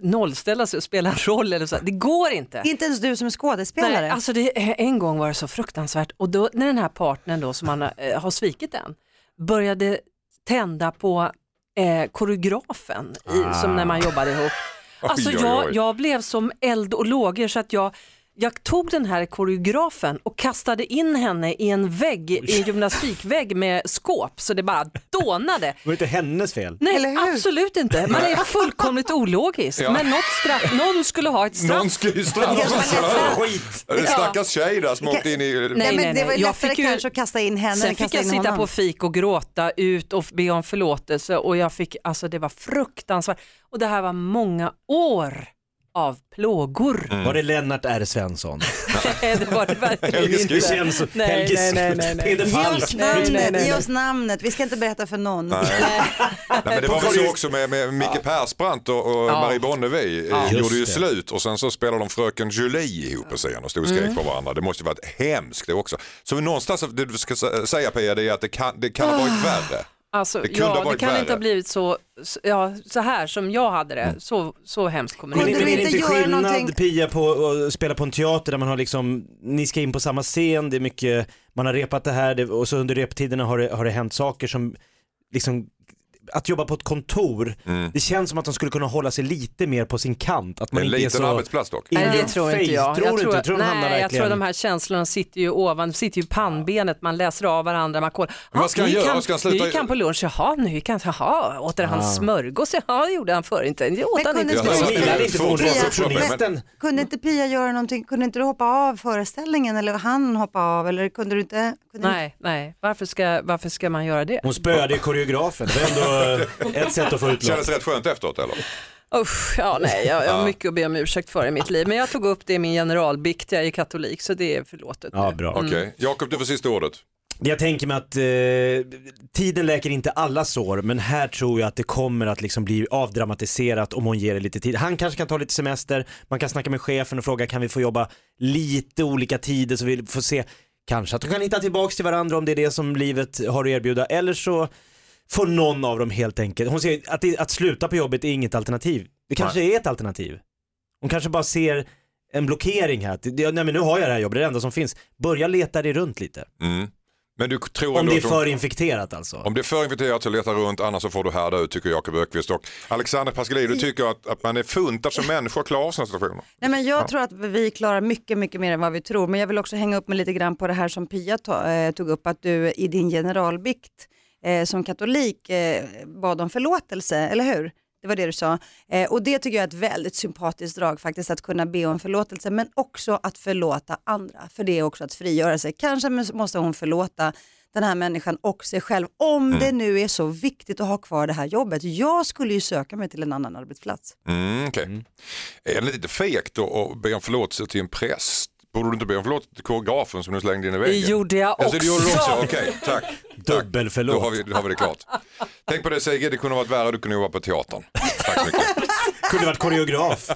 [SPEAKER 5] nollställa sig och spela en roll eller så, det går inte.
[SPEAKER 6] Inte ens du som är skådespelare.
[SPEAKER 5] Nej, alltså det, en gång var det så fruktansvärt och då när den här partnern då som man eh, har svikit den började tända på eh, koreografen i, som när man jobbade ihop. Alltså
[SPEAKER 1] Ah. (laughs) Oj, oj, oj.
[SPEAKER 5] jag, jag blev som eld och lågor så att jag jag tog den här koreografen och kastade in henne i en vägg, i en gymnastikvägg med skåp så det bara dånade.
[SPEAKER 2] Det var inte hennes fel.
[SPEAKER 5] Nej, absolut inte.
[SPEAKER 1] (laughs)
[SPEAKER 5] Man är fullkomligt ologisk.
[SPEAKER 1] Ja.
[SPEAKER 5] Men något straff, någon skulle ha ett straff.
[SPEAKER 1] Någon ska ju straffas, eller hur?
[SPEAKER 2] (laughs) Skit!
[SPEAKER 1] Det är Stackars tjej där som åkte in i...
[SPEAKER 5] Nej, nej,
[SPEAKER 6] men det var
[SPEAKER 5] nej.
[SPEAKER 6] ju
[SPEAKER 5] Jag
[SPEAKER 6] lättare
[SPEAKER 5] fick ju-
[SPEAKER 6] kanske att kasta in henne än
[SPEAKER 5] Sen
[SPEAKER 6] att
[SPEAKER 5] fick
[SPEAKER 6] kasta
[SPEAKER 5] jag
[SPEAKER 6] in
[SPEAKER 5] sitta
[SPEAKER 6] honom.
[SPEAKER 5] på fik och gråta ut och be om förlåtelse och jag fick, alltså det var fruktansvärt. Och det här var många år av plågor.
[SPEAKER 1] (laughs)
[SPEAKER 2] Var det Lennart R. (laughs) Svensson?
[SPEAKER 5] Nej, det var det verkligen
[SPEAKER 1] Helges
[SPEAKER 5] inte.
[SPEAKER 1] Gud.
[SPEAKER 2] Svensson,
[SPEAKER 5] Nej,
[SPEAKER 2] Helge
[SPEAKER 5] nej, nej,
[SPEAKER 1] (laughs)
[SPEAKER 5] nej, nej.
[SPEAKER 2] Pedofil.
[SPEAKER 6] Ge oss namnet,
[SPEAKER 5] Nej, nej, nej,
[SPEAKER 6] ge oss namnet, vi ska inte berätta för någon.
[SPEAKER 1] Nej, men det var väl så också med, med Micke Persbrandt och, och Marie Bonnevie. Ja.
[SPEAKER 2] Just
[SPEAKER 1] Gjorde ju
[SPEAKER 2] det.
[SPEAKER 1] slut och sen så spelade de Fröken Julie ihop på scen och stod och skrek på varandra. Det måste ju varit hemskt det också. Så någonstans, det du ska sä- säga Pia, det är att det kan, det kan ha varit värre.
[SPEAKER 5] Alltså,
[SPEAKER 1] Det kunde ha
[SPEAKER 5] ja, det
[SPEAKER 1] varit
[SPEAKER 5] kan
[SPEAKER 1] värre. Mm.
[SPEAKER 5] inte ha blivit så, så- ja, så här som jag hade det. Så, så hemskt kommer det
[SPEAKER 2] Men
[SPEAKER 6] Kunde
[SPEAKER 2] inte, är det
[SPEAKER 6] du inte
[SPEAKER 2] inte
[SPEAKER 6] göra
[SPEAKER 2] skillnad
[SPEAKER 6] någonting?
[SPEAKER 2] Pia på att eh, spela på en teater där man har liksom, ni ska in på samma scen, det är mycket, man har repat det här det, och så under reptiderna har det, har det hänt saker som liksom att jobba på ett kontor, det känns som att de skulle kunna hålla sig lite mer på sin kant. Att man
[SPEAKER 1] En
[SPEAKER 2] inte är
[SPEAKER 1] liten
[SPEAKER 2] så...
[SPEAKER 1] arbetsplats dock.
[SPEAKER 2] in
[SPEAKER 5] Nej, det
[SPEAKER 2] your
[SPEAKER 5] tror
[SPEAKER 2] face.
[SPEAKER 5] inte jag.
[SPEAKER 2] Tror
[SPEAKER 5] jag
[SPEAKER 2] du inte? Tror du de hamnar
[SPEAKER 5] nej, jag tror
[SPEAKER 2] verkligen-
[SPEAKER 5] de här känslorna sitter ju ovan, sitter ju i pannbenet, man läser av varandra, man kollar.
[SPEAKER 1] Men vad ska
[SPEAKER 5] Ja,
[SPEAKER 1] han
[SPEAKER 5] nu
[SPEAKER 1] göra?
[SPEAKER 5] gick
[SPEAKER 1] Ska han sluta-
[SPEAKER 5] Nu gick han på lunch, jaha, nu gick han, jaha, åt han smörgås, jaha, gjorde han förr inte, det åt
[SPEAKER 6] Men
[SPEAKER 5] han
[SPEAKER 6] kunde
[SPEAKER 5] inte.
[SPEAKER 6] inte-
[SPEAKER 2] Jag
[SPEAKER 1] Ja,
[SPEAKER 2] gillar
[SPEAKER 1] det-
[SPEAKER 2] inte
[SPEAKER 1] två-
[SPEAKER 2] för hon
[SPEAKER 1] två- två-
[SPEAKER 2] receptionisten.
[SPEAKER 6] Kunde inte Pia göra någonting, kunde inte du hoppa av föreställningen eller han hoppa av eller kunde du inte? Kunde
[SPEAKER 5] Nej, nej, varför ska, varför ska man göra det?
[SPEAKER 2] Hon spöade ju koreografen, det var ändå (laughs) eh, ett sätt att få ut något.
[SPEAKER 1] Kändes rätt skönt efteråt eller?
[SPEAKER 5] Usch, ja, nej, jag, jag har mycket att be om ursäkt för i mitt liv, men jag tog upp det i min generalbikt, jag är katolik, så det är förlåtet.
[SPEAKER 2] Ja, bra.
[SPEAKER 1] Okej, Jakob du får sista ordet.
[SPEAKER 2] Jag tänker mig att eh, tiden läker inte alla sår men här tror jag att det kommer att liksom bli avdramatiserat om hon ger det lite tid. Han kanske kan ta lite semester, man kan snacka med chefen och fråga kan vi få jobba lite olika tider så vi får se kanske att de kan hitta tillbaks till varandra om det är det som livet har att erbjuda eller så får någon av dem helt enkelt, hon säger att, det, att sluta på jobbet är inget alternativ. Det kanske är ett alternativ. Hon kanske bara ser en blockering här, Det- nej men nu har jag det här jobbet, det är det enda som finns. Börja leta dig runt lite.
[SPEAKER 1] Mm. Men du tror
[SPEAKER 2] Om
[SPEAKER 1] ändå
[SPEAKER 2] det är
[SPEAKER 1] att hon-
[SPEAKER 2] för infekterat alltså.
[SPEAKER 1] Om det är för infekterat så leta runt, annars så får du härda ut tycker Jakob Ökvist och Alexander Pascalidou du tycker att, att man är funtad som människa och klarar av sina situationer.
[SPEAKER 6] Nej, men jag tror att vi klarar mycket, mycket mer än vad vi tror. Men jag vill också hänga upp mig lite grann på det här som Pia ta, eh, tog upp, att du i din generalbikt eh, som katolik eh, bad om förlåtelse, eller hur? Det var det du sa. Eh, och det tycker jag är ett väldigt sympatiskt drag faktiskt, att kunna be om förlåtelse, men också att förlåta andra. För det är också att frigöra sig. Kanske mus- måste hon förlåta den här människan och sig själv, om det nu är så viktigt att ha kvar det här jobbet. Jag skulle ju söka mig till en annan arbetsplats.
[SPEAKER 1] Mm, okej. Är det lite fegt att- att be om förlåtelse till en präst? Borde du inte be om förlåtelse till koreografen som du slängde in i väggen?
[SPEAKER 5] Det gjorde jag
[SPEAKER 1] Alltså, det gjorde du också.
[SPEAKER 5] (laughs) också.
[SPEAKER 1] Okej, tack.
[SPEAKER 2] Dubbelförlåt.
[SPEAKER 1] Då har vi, då har vi det klart. Tänk på det Sigge, det kunde ha varit värre, du kunde jobba på teatern. Tack så mycket.
[SPEAKER 2] kunde varit koreograf.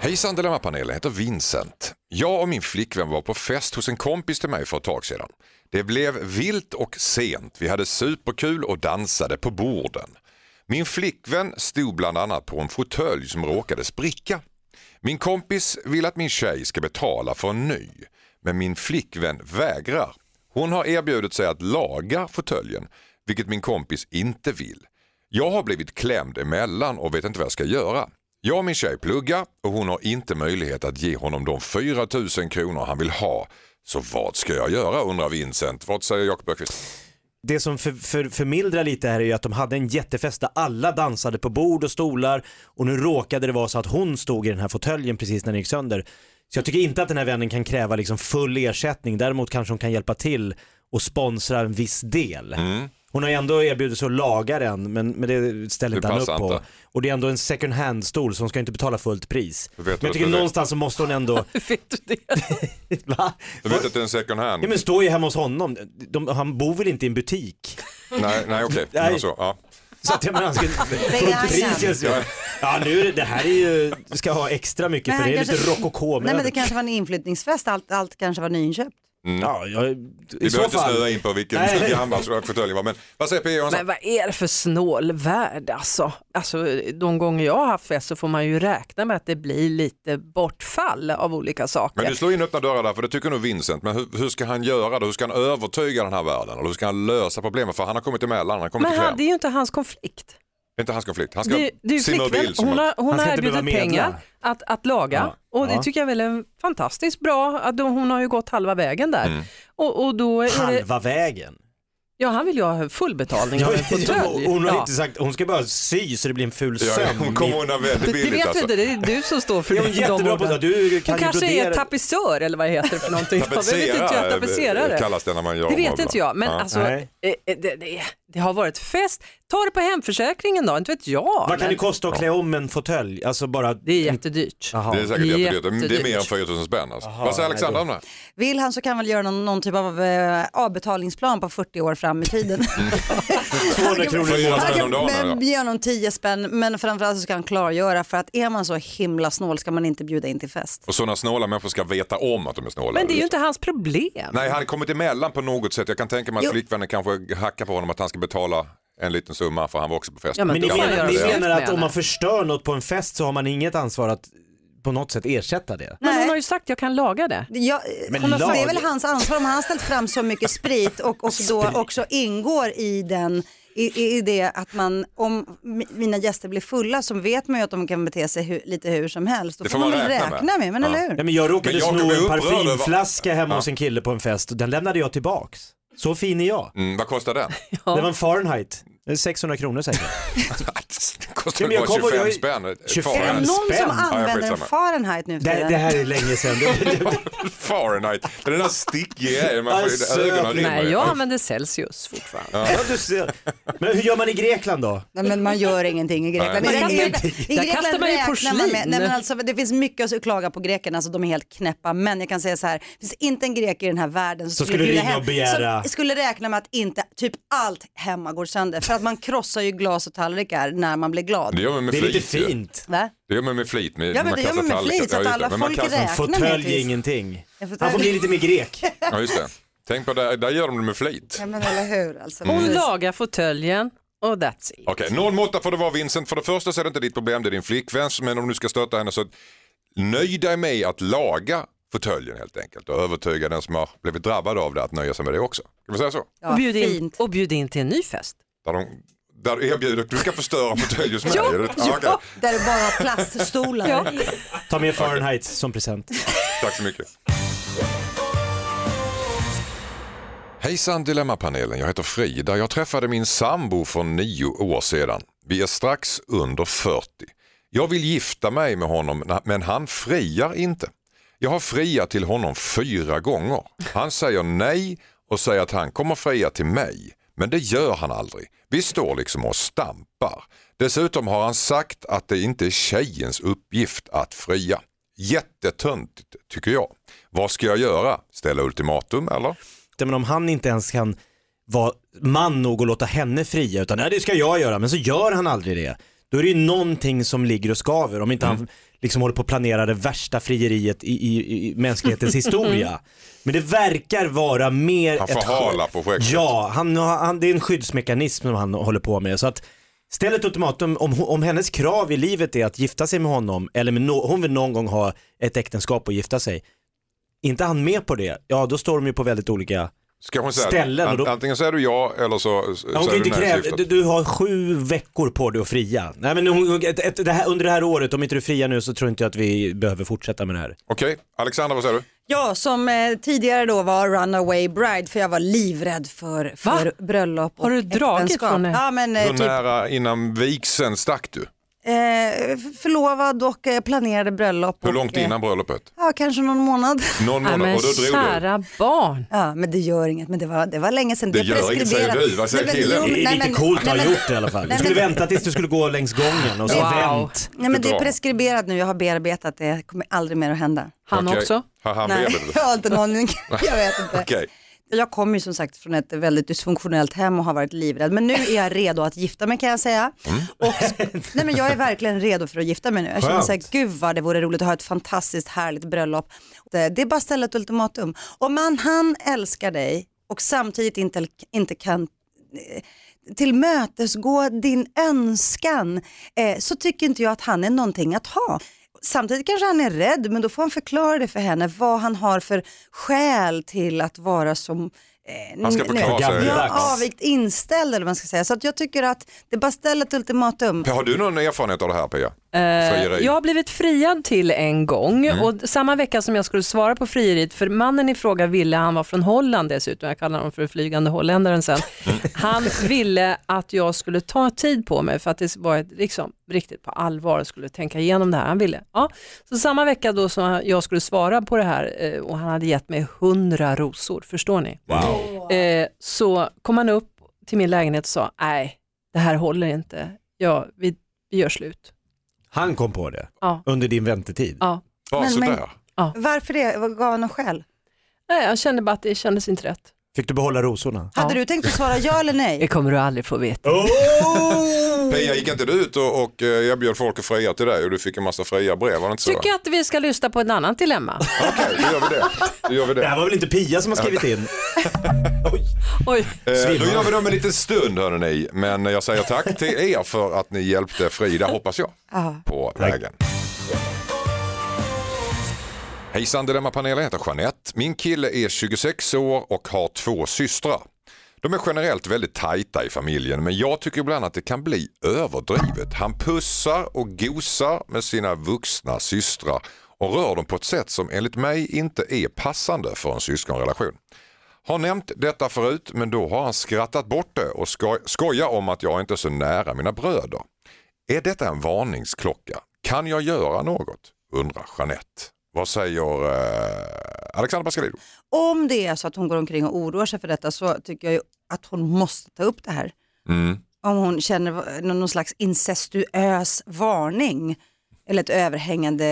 [SPEAKER 1] Hejsan Dilemmapanelen, jag heter Vincent. Jag och min flickvän var på fest hos en kompis till mig för ett tag sedan. Det blev vilt och sent. Vi hade superkul och dansade på borden. Min flickvän stod bland annat på en fåtölj som råkade spricka. Min kompis vill att min tjej ska betala för en ny, men min flickvän vägrar. Hon har erbjudit sig att laga fåtöljen, vilket min kompis inte vill. Jag har blivit klämd emellan och vet inte vad jag ska göra. Jag och min tjej pluggar och hon har inte möjlighet att ge honom de 4 000 kronor han vill ha. Så vad ska jag göra undrar Vincent. Vad säger Jakob Öqvist?
[SPEAKER 2] Det som för, för, förmildrar lite här är ju att de hade en jättefest där alla dansade på bord och stolar och nu råkade det vara så att hon stod i den här fåtöljen precis när den gick sönder. Så jag tycker inte att den här vännen kan kräva liksom full ersättning, däremot kanske hon kan hjälpa till och sponsra en viss del.
[SPEAKER 1] Mm.
[SPEAKER 2] Hon har ju ändå erbjudit sig att laga den men, men det ställer
[SPEAKER 1] Det
[SPEAKER 2] inte han upp
[SPEAKER 1] passar
[SPEAKER 2] på.
[SPEAKER 1] inte.
[SPEAKER 2] Och det är ändå en second hand stol så hon ska ju inte betala fullt pris.
[SPEAKER 1] vet
[SPEAKER 2] Men
[SPEAKER 1] du
[SPEAKER 2] jag
[SPEAKER 1] att
[SPEAKER 2] tycker
[SPEAKER 1] det är-
[SPEAKER 2] någonstans så måste
[SPEAKER 1] (laughs)
[SPEAKER 2] hon ändå,
[SPEAKER 5] Vet du det?
[SPEAKER 2] va?
[SPEAKER 1] Du vet att det är en second hand?
[SPEAKER 2] Ja men står ju hemma hos honom, de, han bor väl inte i en butik?
[SPEAKER 1] Nej, nej okej.
[SPEAKER 2] Nej.
[SPEAKER 1] Men så, Ja.
[SPEAKER 2] Så att jag menar, han
[SPEAKER 5] (laughs)
[SPEAKER 2] ska från priset. så- Ja nu, är det- det här är ju, ska ha extra mycket
[SPEAKER 6] Men
[SPEAKER 2] för det är
[SPEAKER 6] han
[SPEAKER 2] lite
[SPEAKER 6] kanske-
[SPEAKER 2] rokoko med
[SPEAKER 6] Nej men
[SPEAKER 2] det.
[SPEAKER 6] det kanske var en inflyttningsfest, allt, allt kanske var nyinköpt.
[SPEAKER 2] Ja, jag, i
[SPEAKER 1] Vi
[SPEAKER 2] så
[SPEAKER 1] behöver inte snöa
[SPEAKER 2] fall.
[SPEAKER 1] in på vilken
[SPEAKER 2] Nej.
[SPEAKER 1] vilken handbollsfåtölj det var. Men vad säger E P.E. Jansson?
[SPEAKER 5] Men vad är det för snål värld alltså? alltså? De gånger jag har haft fest så får man ju räkna med att det blir lite bortfall av olika saker.
[SPEAKER 1] Men du slår in öppna dörrar där, för det tycker nog Vincent. Men hur, hur ska han göra det? Hur ska han övertyga den här världen? Eller hur ska han lösa problemet? För han har kommit emellan, han har kommit
[SPEAKER 5] Men
[SPEAKER 1] i
[SPEAKER 5] han,
[SPEAKER 1] kläm.
[SPEAKER 5] det är ju inte hans konflikt.
[SPEAKER 1] Det är inte hans konflikt. Han ska
[SPEAKER 5] Det, det är ju
[SPEAKER 1] simma och
[SPEAKER 5] flickvän,
[SPEAKER 1] bild. som
[SPEAKER 5] hon
[SPEAKER 1] han-
[SPEAKER 5] har, hon
[SPEAKER 2] Han ska
[SPEAKER 5] har
[SPEAKER 2] inte
[SPEAKER 5] erbjudit
[SPEAKER 2] behöva medla.
[SPEAKER 5] pengar att, att laga
[SPEAKER 2] Ja.
[SPEAKER 5] och det
[SPEAKER 2] Ja.
[SPEAKER 5] tycker jag väl är en fantastiskt bra, att de, hon har ju gått halva vägen där.
[SPEAKER 1] Mm.
[SPEAKER 5] Och, och då är det,
[SPEAKER 2] Halva vägen.
[SPEAKER 5] ja, han vill ju ha full betalning av en fåtölj.
[SPEAKER 2] hon har
[SPEAKER 5] Ja.
[SPEAKER 2] inte sagt, hon ska bara sy så det blir en ful
[SPEAKER 1] Ja,
[SPEAKER 2] sömn.
[SPEAKER 1] hon kommer undan
[SPEAKER 5] Det,
[SPEAKER 1] väldigt
[SPEAKER 5] det
[SPEAKER 1] billigt
[SPEAKER 5] vet
[SPEAKER 1] alltså.
[SPEAKER 5] du inte, det är du som står för
[SPEAKER 2] Ja, hon är
[SPEAKER 5] de
[SPEAKER 2] jättebra på
[SPEAKER 5] orden.
[SPEAKER 2] det. Du kan
[SPEAKER 5] Hon
[SPEAKER 2] ju
[SPEAKER 5] kanske är
[SPEAKER 2] brodera.
[SPEAKER 5] tapetsör eller vad det heter för någonting. Jag vet inte, jag,
[SPEAKER 1] Tapetserare
[SPEAKER 5] tapetserare.
[SPEAKER 1] eh, kallas det när man gör
[SPEAKER 5] Det vet
[SPEAKER 1] möbler.
[SPEAKER 5] inte jag, men
[SPEAKER 1] Ja.
[SPEAKER 5] alltså, eh,
[SPEAKER 2] Nej.
[SPEAKER 5] eh, det, det, det har varit fest. Ta det på hemförsäkringen då, inte vet jag.
[SPEAKER 2] Vad kan
[SPEAKER 5] men
[SPEAKER 2] det kosta att klä om en fåtölj? Alltså bara...
[SPEAKER 5] det är jättedyrt.
[SPEAKER 2] Jaha.
[SPEAKER 1] Det är säkert jättedyrt. Det är mer än
[SPEAKER 5] Jättedyrt.
[SPEAKER 1] 4 000 spänn alltså.
[SPEAKER 2] Jaha,
[SPEAKER 1] Vad säger
[SPEAKER 2] nej,
[SPEAKER 1] Alexandra om det?
[SPEAKER 6] Vill han så kan han väl göra någon, någon typ av eh, avbetalningsplan på 40 år fram i tiden.
[SPEAKER 5] (laughs)
[SPEAKER 2] 200 kronor i
[SPEAKER 1] Fyra
[SPEAKER 2] månaden.
[SPEAKER 1] spänn om dagen.
[SPEAKER 6] men,
[SPEAKER 1] ja.
[SPEAKER 6] ge honom 10 spänn men framförallt så ska han klargöra för att är man så himla snål ska man inte bjuda in till fest.
[SPEAKER 1] Och sådana snåla människor ska veta om att de är snåla.
[SPEAKER 5] Men det är ju inte hans problem.
[SPEAKER 1] Nej, han har kommit emellan på något sätt. Jag kan tänka mig att
[SPEAKER 6] Jo.
[SPEAKER 1] flickvännen kanske hackar på honom att han ska betala en liten summa för han var också på festen.
[SPEAKER 5] Ja, men
[SPEAKER 2] Men ni
[SPEAKER 5] då får
[SPEAKER 2] menar,
[SPEAKER 5] han
[SPEAKER 2] ni
[SPEAKER 5] göra slut
[SPEAKER 2] menar
[SPEAKER 5] med
[SPEAKER 2] att om
[SPEAKER 5] henne.
[SPEAKER 2] man förstör något på en fest så har man inget ansvar att på något sätt ersätta det?
[SPEAKER 5] Men
[SPEAKER 6] Nej.
[SPEAKER 5] hon har ju sagt jag kan laga det.
[SPEAKER 6] Ja,
[SPEAKER 2] Men
[SPEAKER 6] hon har,
[SPEAKER 2] lag-
[SPEAKER 6] eh, det är väl hans ansvar om han har ställt fram så mycket sprit och, och då också ingår i den i, i- i det att man, om mi- mina gäster blir fulla så vet man ju att de kan bete sig hu, lite hur som helst. Då
[SPEAKER 1] Det
[SPEAKER 6] får man väl
[SPEAKER 1] med.
[SPEAKER 6] räkna med, men
[SPEAKER 1] Ja.
[SPEAKER 6] eller hur?
[SPEAKER 2] Nej, men jag råkade
[SPEAKER 1] Men jag
[SPEAKER 2] sno
[SPEAKER 1] blev
[SPEAKER 2] en
[SPEAKER 1] upprörd över-
[SPEAKER 2] parfymflaska hemma
[SPEAKER 1] Ja.
[SPEAKER 2] hos en kille på en fest och den lämnade jag tillbaks. Så fin är jag.
[SPEAKER 1] Mm, vad kostar den? (laughs)
[SPEAKER 2] Det var en Fahrenheit. Det är 600 kronor säkert.
[SPEAKER 1] Det kostar
[SPEAKER 2] Ja, men jag
[SPEAKER 1] bara
[SPEAKER 2] kommer-
[SPEAKER 1] 25
[SPEAKER 2] jag är-
[SPEAKER 1] spänn.
[SPEAKER 2] 25
[SPEAKER 6] Är det
[SPEAKER 1] Fahrenheit.
[SPEAKER 6] någon
[SPEAKER 2] Spänn.
[SPEAKER 6] som
[SPEAKER 2] Ja,
[SPEAKER 1] jag är
[SPEAKER 6] använder en
[SPEAKER 1] skitsamma.
[SPEAKER 6] Fahrenheit nu för
[SPEAKER 2] det,
[SPEAKER 6] tiden?
[SPEAKER 2] det här är länge sedan. Det, det,
[SPEAKER 1] Fahrenheit. Det är den där stickiga grejen. Man
[SPEAKER 2] Alltså,
[SPEAKER 1] får ju ögonen rinner
[SPEAKER 5] Nej,
[SPEAKER 1] ju.
[SPEAKER 5] jag använder Celsius fortfarande.
[SPEAKER 2] ja, du ser. Men hur gör man i Grekland då?
[SPEAKER 6] Nej, men man gör ingenting i Grekland.
[SPEAKER 5] Man
[SPEAKER 6] I
[SPEAKER 5] kastar-
[SPEAKER 6] Grekland- i
[SPEAKER 5] där
[SPEAKER 6] Grekland
[SPEAKER 5] kastar man ju
[SPEAKER 6] räknar
[SPEAKER 5] porslin.
[SPEAKER 6] med- Nej, men alltså, det finns mycket att klaga på grekerna, alltså, de är helt knäppa. Men jag kan säga så här, det finns inte en grek i den här världen som
[SPEAKER 2] skulle
[SPEAKER 6] bjuda
[SPEAKER 2] ringa
[SPEAKER 6] hem-
[SPEAKER 2] och begära-
[SPEAKER 6] som skulle räkna med att inte typ allt hemma går sönder. För att man krossar ju glas och tallrikar när man blir glad.
[SPEAKER 1] Det gör man med
[SPEAKER 2] Det är
[SPEAKER 1] flit.
[SPEAKER 2] lite
[SPEAKER 1] ju.
[SPEAKER 2] fint.
[SPEAKER 6] Va?
[SPEAKER 1] Det gör man med flit. Med,
[SPEAKER 6] Ja, men
[SPEAKER 1] man
[SPEAKER 6] det gör
[SPEAKER 1] kastar
[SPEAKER 6] man med
[SPEAKER 1] tallrikar.
[SPEAKER 6] flit, så att
[SPEAKER 1] Ja, just
[SPEAKER 6] alla
[SPEAKER 1] det. Men man
[SPEAKER 6] folk
[SPEAKER 1] kastar-
[SPEAKER 6] räknar.
[SPEAKER 2] Fåtölj är
[SPEAKER 6] naturligtvis.
[SPEAKER 2] ingenting.
[SPEAKER 6] Jag får ta-
[SPEAKER 2] Han får bli lite mer grek.
[SPEAKER 1] Ja, just det. Tänk på det, där gör de det med flit.
[SPEAKER 6] Ja men eller hur alltså.
[SPEAKER 5] Hon
[SPEAKER 6] Precis.
[SPEAKER 5] lagar fåtöljen och that's it.
[SPEAKER 1] Okej, någon måtta får det vara Vincent. För det första så är det inte ditt problem, det är din flickväns. Men om du ska stöta henne så nöj dig med att laga fåtöljen helt enkelt och övertyga den som har blivit drabbad av det att nöja sig med det också. Kan vi säga så?
[SPEAKER 6] Ja,
[SPEAKER 5] och, bjud in,
[SPEAKER 6] fint.
[SPEAKER 5] och bjud in till en ny fest.
[SPEAKER 1] Där, de, där erbjuder du ska förstöra fåtölj hos mig.
[SPEAKER 5] Ja,
[SPEAKER 1] Är det- ja, okej.
[SPEAKER 6] Där det bara är plaststolar.
[SPEAKER 2] Ta med Fahrenheit som present.
[SPEAKER 1] Tack så mycket. Hejsan Dilemmapanelen, jag heter Frida. Jag träffade min sambo för nio år sedan. Vi är strax under 40. Jag vill gifta mig med honom men han friar inte. Jag har friat till honom fyra gånger. Han säger nej och säger att han kommer fria till mig. Men det gör han aldrig. Vi står liksom och stampar. Dessutom har han sagt att det inte är tjejens uppgift att fria. Jättetöntigt tycker jag. Vad ska jag göra? Ställa ultimatum eller?
[SPEAKER 2] Men om han inte ens kan vara man nog och låta henne fria utan nej, det ska jag göra men så gör han aldrig det. Då är det ju någonting som ligger och skaver om inte han liksom håller på att planera det värsta frieriet i, i, i mänsklighetens historia. Men det verkar vara mer
[SPEAKER 1] Han
[SPEAKER 2] ett
[SPEAKER 1] förhalar projektet.
[SPEAKER 2] Ja, han, har- han, det är en skyddsmekanism som han håller på med. Så att ställ ett ultimatum om, ho- om hennes krav i livet är att gifta sig med honom eller med no, hon vill någon gång ha ett äktenskap och gifta sig. Inte han med på det, ja då står de ju på väldigt olika
[SPEAKER 1] Ska hon säga,
[SPEAKER 2] Ställen, och då-
[SPEAKER 1] Antingen säger du ja eller så så
[SPEAKER 2] Ja,
[SPEAKER 1] säger
[SPEAKER 2] Hon kan
[SPEAKER 1] du
[SPEAKER 2] inte
[SPEAKER 1] nej.
[SPEAKER 2] kräva,
[SPEAKER 1] syftet.
[SPEAKER 2] du, du har sju veckor på dig att fria. Nej, men hon, ett, ett, det här, under det här året, om inte du friar nu så tror inte jag att vi behöver fortsätta med det här.
[SPEAKER 1] Okej, Alexandra vad säger du?
[SPEAKER 6] Ja, som eh, tidigare då var runaway bride för jag var livrädd för, för bröllop och
[SPEAKER 5] Har du dragit
[SPEAKER 6] äktenskap.
[SPEAKER 5] från det?
[SPEAKER 6] Ja, men eh,
[SPEAKER 1] Hur
[SPEAKER 6] typ
[SPEAKER 1] nära innan vigseln stack du?
[SPEAKER 6] eh, förlovad och eh, planerade bröllop.
[SPEAKER 1] Hur
[SPEAKER 6] och,
[SPEAKER 1] långt
[SPEAKER 6] eh,
[SPEAKER 1] innan bröllopet?
[SPEAKER 6] Ja, kanske någon månad. (laughs)
[SPEAKER 1] Någon
[SPEAKER 5] Nej,
[SPEAKER 1] månad
[SPEAKER 5] men
[SPEAKER 1] och då drog du?
[SPEAKER 5] kära barn.
[SPEAKER 6] Ja, men det gör inget, men det var, det var länge sedan.
[SPEAKER 1] Det
[SPEAKER 6] är
[SPEAKER 1] gör inget, säger
[SPEAKER 6] preskriberat.
[SPEAKER 1] du. Vad säger
[SPEAKER 6] Nej, men-
[SPEAKER 1] killen?
[SPEAKER 6] jo,
[SPEAKER 1] Det
[SPEAKER 2] Det är
[SPEAKER 6] nej,
[SPEAKER 2] lite
[SPEAKER 6] men-
[SPEAKER 2] coolt att
[SPEAKER 6] nej,
[SPEAKER 2] ha
[SPEAKER 6] men-
[SPEAKER 2] gjort det i alla fall. Du
[SPEAKER 6] Nej,
[SPEAKER 2] skulle
[SPEAKER 6] men-
[SPEAKER 2] vänta tills du skulle gå längs gången och så
[SPEAKER 5] Wow.
[SPEAKER 2] vänt.
[SPEAKER 6] Nej men det
[SPEAKER 1] Bra.
[SPEAKER 6] är preskriberat nu, jag har bearbetat det, det kommer aldrig mer att hända.
[SPEAKER 5] Han
[SPEAKER 1] Okej.
[SPEAKER 5] också.
[SPEAKER 1] Har han
[SPEAKER 6] Nej,
[SPEAKER 1] bearbetat det?
[SPEAKER 6] jag (laughs) har inte en aning, jag vet inte.
[SPEAKER 1] Okej,
[SPEAKER 6] Jag kommer ju som sagt från ett väldigt dysfunktionellt hem och har varit livrädd. Men nu är jag redo att gifta mig kan jag säga. Och, nej men jag är verkligen redo för att gifta mig nu. Jag känner
[SPEAKER 2] Skönt.
[SPEAKER 6] så här, gud vad det vore roligt att ha ett fantastiskt härligt bröllop. Det, det är bara att ställa ett ultimatum. Om man, han älskar dig och samtidigt inte, inte kan eh, tillmötesgå din önskan eh, så tycker inte jag att han är någonting att ha. Samtidigt kanske han är rädd men då får han förklara det för henne vad han har för skäl till att vara som eh,
[SPEAKER 1] Han ska
[SPEAKER 6] nu-
[SPEAKER 1] förklara sig.
[SPEAKER 6] Ja,
[SPEAKER 2] Gammaldags.
[SPEAKER 6] avvikt inställd eller vad man ska säga. Så att jag tycker att det är bara ställ ett ultimatum.
[SPEAKER 1] har du någon erfarenhet av det här Pia?
[SPEAKER 5] Eh, Jag har blivit friad till en gång och samma vecka som jag skulle svara på frieriet, för mannen i fråga ville, han var från Holland dessutom, jag kallar honom för flygande holländaren sen, han ville att jag skulle ta tid på mig för att det var ett, liksom, riktigt på allvar och skulle tänka igenom det här. Han ville. Ja. Så samma vecka då som jag skulle svara på det här eh, och han hade gett mig hundra rosor, förstår ni? Eh, så kom han upp till min lägenhet och sa, nej det här håller inte, ja, vi, vi gör slut.
[SPEAKER 2] Han kom på det
[SPEAKER 5] Ja.
[SPEAKER 2] under din väntetid.
[SPEAKER 5] Ja.
[SPEAKER 1] Ja,
[SPEAKER 6] Men- men-
[SPEAKER 1] sådär.
[SPEAKER 6] Varför det? Vad Gav han någon skäl?
[SPEAKER 5] Nej, jag kände bara att det kändes inte rätt.
[SPEAKER 2] Fick du behålla rosorna?
[SPEAKER 6] Hade
[SPEAKER 5] Ja.
[SPEAKER 6] du tänkt att svara ja eller nej?
[SPEAKER 5] kommer du aldrig få veta.
[SPEAKER 1] Pia, gick inte du ut och, och eh, erbjöd folk att fria till dig och du fick en massa fria brev? Var det inte så?
[SPEAKER 5] Tycker jag att vi ska lyssna på ett
[SPEAKER 1] (laughs)
[SPEAKER 5] annat dilemma.
[SPEAKER 1] Okej, då gör vi det. Då gör vi
[SPEAKER 2] Det
[SPEAKER 1] det.
[SPEAKER 2] här var väl inte Pia som har skrivit in? Oj.
[SPEAKER 5] Oj.
[SPEAKER 1] Eh, Då
[SPEAKER 2] Svimmar.
[SPEAKER 1] gör vi det om en liten stund hörrni. Men jag säger tack till er för att ni hjälpte Frida, hoppas jag, på vägen. Hejsan Dilemmapanelen, jag heter Jeanette. Min kille är 26 år och har två systrar. De är generellt väldigt tajta i familjen men jag tycker ibland att det kan bli överdrivet. Han pussar och gosar med sina vuxna systrar och rör dem på ett sätt som enligt mig inte är passande för en syskonrelation. Har nämnt detta förut men då har han skrattat bort det och skoj- skojar om att jag inte är så nära mina bröder. Är detta en varningsklocka? Kan jag göra något? Undrar Jeanette. Vad säger eh, Alexander Pascalidou?
[SPEAKER 6] Om det är så att hon går omkring och oroar sig för detta så tycker jag ju att hon måste ta upp det här.
[SPEAKER 1] Mm.
[SPEAKER 6] Om hon känner någon någon slags incestuös varning eller ett överhängande...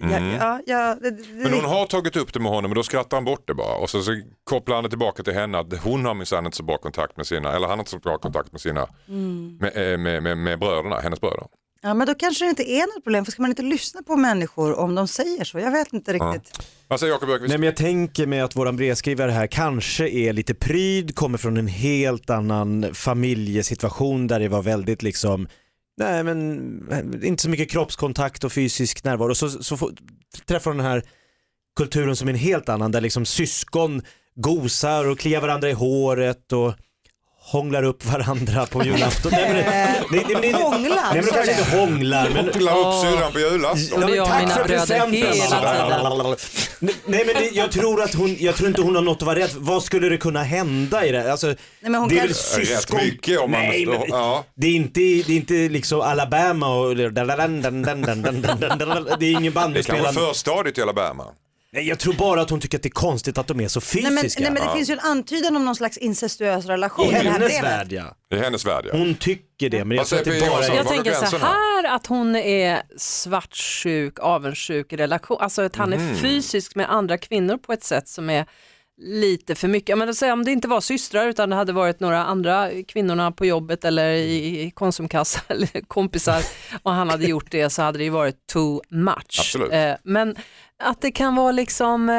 [SPEAKER 6] eh,
[SPEAKER 2] Mm.
[SPEAKER 6] Ja, ja, ja, det, det,
[SPEAKER 1] Men hon har tagit upp det med honom men då skrattar han bort det bara och så, så kopplar han det tillbaka till henne att hon har minsann inte så bra kontakt med sina, eller han har inte så bra kontakt med sina,
[SPEAKER 5] Mm.
[SPEAKER 1] med, eh, med, med, med bröderna, hennes bröder.
[SPEAKER 6] ja, men då kanske det inte är något problem för ska man inte lyssna på människor om de säger så? Jag vet inte riktigt.
[SPEAKER 1] Vad säger Jakob Öqvist?
[SPEAKER 2] Nej men jag tänker mig att våran brevskrivare här kanske är lite pryd, kommer från en helt annan familjesituation där det var väldigt liksom, nej men inte så mycket kroppskontakt och fysisk närvaro. Så, så får, träffar hon den här kulturen som är en helt annan där liksom syskon gosar och kliar varandra i håret och hånglar upp varandra
[SPEAKER 6] (laughs)
[SPEAKER 2] på julafton. Nej, men, nej, nej, men det-
[SPEAKER 6] Hånglar,
[SPEAKER 2] Nej men de
[SPEAKER 6] sa
[SPEAKER 2] kanske
[SPEAKER 6] du?
[SPEAKER 2] inte hånglar men
[SPEAKER 1] Hånglar upp syrran på julafton.
[SPEAKER 2] Ja, men
[SPEAKER 5] Det gör
[SPEAKER 2] tack
[SPEAKER 5] mina
[SPEAKER 2] för
[SPEAKER 5] bröder
[SPEAKER 2] presenten. Alltså,
[SPEAKER 5] hela
[SPEAKER 2] Nej men det, jag tror att hon, jag tror inte hon har något att vara rädd för. Vad skulle det kunna hända i det? här? Alltså,
[SPEAKER 6] men hon
[SPEAKER 2] det är
[SPEAKER 6] kan-
[SPEAKER 2] väl
[SPEAKER 1] Rätt
[SPEAKER 2] syskon...
[SPEAKER 1] mycket om man-
[SPEAKER 2] Nej, men,
[SPEAKER 1] ja.
[SPEAKER 2] det, är inte, det är inte liksom Alabama och... Det är ingen
[SPEAKER 1] Det kan vara
[SPEAKER 2] bandyspelare.
[SPEAKER 1] förstadiet i Alabama.
[SPEAKER 2] Nej jag tror bara att hon tycker att det är konstigt att de är så
[SPEAKER 6] Nej, men,
[SPEAKER 2] fysiska.
[SPEAKER 6] nej, men det finns ju en antydan om någon slags incestuös relation.
[SPEAKER 2] I
[SPEAKER 6] det här
[SPEAKER 2] hennes
[SPEAKER 6] brevet.
[SPEAKER 2] värld ja.
[SPEAKER 1] I hennes värld ja. Alltså,
[SPEAKER 2] Hon tycker det men jag
[SPEAKER 1] Vad
[SPEAKER 2] tror att det
[SPEAKER 1] säger
[SPEAKER 2] bara
[SPEAKER 1] Pia
[SPEAKER 2] är...
[SPEAKER 5] Jag
[SPEAKER 1] Var går
[SPEAKER 5] tänker så
[SPEAKER 1] gränserna?
[SPEAKER 5] här att hon är
[SPEAKER 1] Mhm.
[SPEAKER 5] svartsjuk, avundsjuk i relation, alltså att han är fysisk med andra kvinnor på ett sätt som är lite för mycket. Ja, Men säg om det inte var systrar utan det hade varit några andra kvinnorna på jobbet eller i i Konsumkassan (laughs) eller kompisar och han hade gjort det så hade det ju varit too much.
[SPEAKER 1] Absolut.
[SPEAKER 5] Eh, Men att det kan vara liksom eh,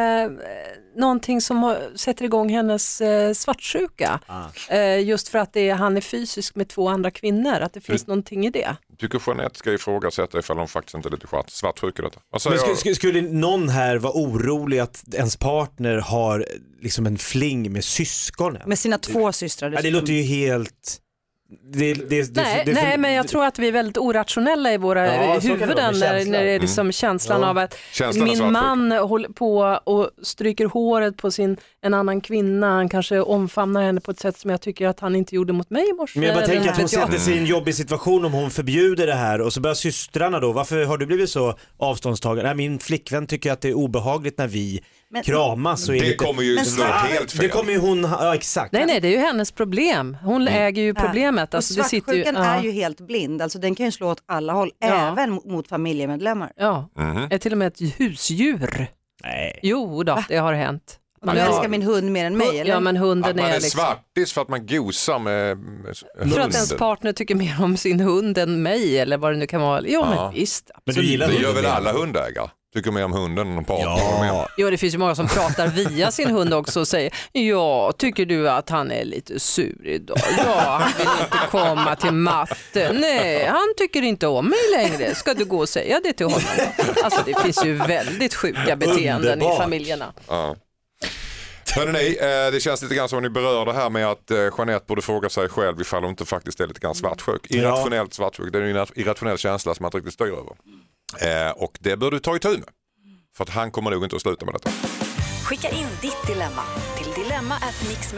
[SPEAKER 5] någonting som har, sätter igång hennes eh, svartsjuka.
[SPEAKER 2] Ah.
[SPEAKER 5] Eh, just för att det är, han är fysisk med två andra kvinnor, att det finns någonting i det.
[SPEAKER 1] Tycker Jeanette ska ifrågasätta ifall hon faktiskt inte är lite svart- svartsjuk i detta. Vad säger
[SPEAKER 2] Men skulle,
[SPEAKER 1] jag?
[SPEAKER 2] skulle, skulle någon här vara orolig att ens partner har liksom en fling med syskonen?
[SPEAKER 6] Med sina två systrar
[SPEAKER 2] ja, det
[SPEAKER 6] dessutom.
[SPEAKER 2] låter ju helt... Det, det, det,
[SPEAKER 5] Nej,
[SPEAKER 2] det,
[SPEAKER 5] nej, men jag tror att vi är väldigt orationella i våra
[SPEAKER 2] Ja, så kan det vara, med
[SPEAKER 5] huvuden
[SPEAKER 2] känslan.
[SPEAKER 5] när,
[SPEAKER 2] Mm.
[SPEAKER 5] när det är liksom känslan
[SPEAKER 2] Ja.
[SPEAKER 5] av att
[SPEAKER 1] Känslan är
[SPEAKER 5] min
[SPEAKER 1] svartsjuk.
[SPEAKER 5] man håller på och stryker håret på sin, en annan kvinna, han kanske omfamnar henne på ett sätt som jag tycker att han inte gjorde mot mig i morse.
[SPEAKER 2] Men jag bara
[SPEAKER 5] eller
[SPEAKER 2] tänker att hon
[SPEAKER 5] vad Eh, vet jag.
[SPEAKER 2] sätter sig i en jobbig situation om hon förbjuder det här och så börjar systrarna då, varför har du blivit så avståndstagande? Nej, min flickvän tycker att det är obehagligt när vi
[SPEAKER 5] Eh,
[SPEAKER 6] Men-
[SPEAKER 2] kramas och är
[SPEAKER 1] Det
[SPEAKER 2] lite...
[SPEAKER 1] kommer ju
[SPEAKER 6] Men
[SPEAKER 1] slå
[SPEAKER 6] svart-
[SPEAKER 1] helt fel.
[SPEAKER 2] Det kommer ju hon, ja exakt.
[SPEAKER 5] Nej, nej, det är ju hennes problem. Hon
[SPEAKER 2] Mm.
[SPEAKER 5] äger ju problemet. Alltså, det
[SPEAKER 6] och
[SPEAKER 5] sitter ju,
[SPEAKER 6] svartsjukan är
[SPEAKER 5] ja,
[SPEAKER 6] ju helt blind, alltså den kan ju slå åt alla håll,
[SPEAKER 5] Ja.
[SPEAKER 6] även mot- mot familjemedlemmar.
[SPEAKER 5] ja, är till och med ett husdjur.
[SPEAKER 2] Nej.
[SPEAKER 5] Jo då, det har hänt.
[SPEAKER 6] Och du
[SPEAKER 5] Ja.
[SPEAKER 6] älskar min hund mer än mig eller?
[SPEAKER 5] Ja, men hunden
[SPEAKER 1] Att man
[SPEAKER 5] är
[SPEAKER 1] är
[SPEAKER 5] liksom...
[SPEAKER 1] svartis för att man gosar med med
[SPEAKER 5] För att ens
[SPEAKER 1] hunden.
[SPEAKER 5] partner tycker mer om sin hund än mig eller vad det nu kan vara. Jo
[SPEAKER 1] Ja.
[SPEAKER 5] men visst.
[SPEAKER 2] Men du gillar
[SPEAKER 1] Det
[SPEAKER 2] hunden
[SPEAKER 1] gör väl
[SPEAKER 2] mer?
[SPEAKER 1] alla hundägare? Tycker mer om hunden än om partnern.
[SPEAKER 2] Ja.
[SPEAKER 5] Jo det finns ju många som pratar via sin hund också och säger ja tycker du att han är lite sur idag? Ja han vill inte komma till matten. Nej han tycker inte om mig längre. Ska du gå och säga det till honom? Alltså det finns ju väldigt sjuka beteenden
[SPEAKER 2] Underbart.
[SPEAKER 5] i familjerna.
[SPEAKER 1] Ja. Hörrni, eh, det känns lite grann som ni berörde här med att eh, Jeanette borde fråga sig själv ifall hon inte faktiskt är lite grann svartsjuk. Irrationellt svartsjuk, det är en irra- irrationell känsla som man inte riktigt styr över. Eh, Och det bör du ta itu med. För att han kommer nog inte att sluta med detta.
[SPEAKER 3] Skicka in ditt dilemma till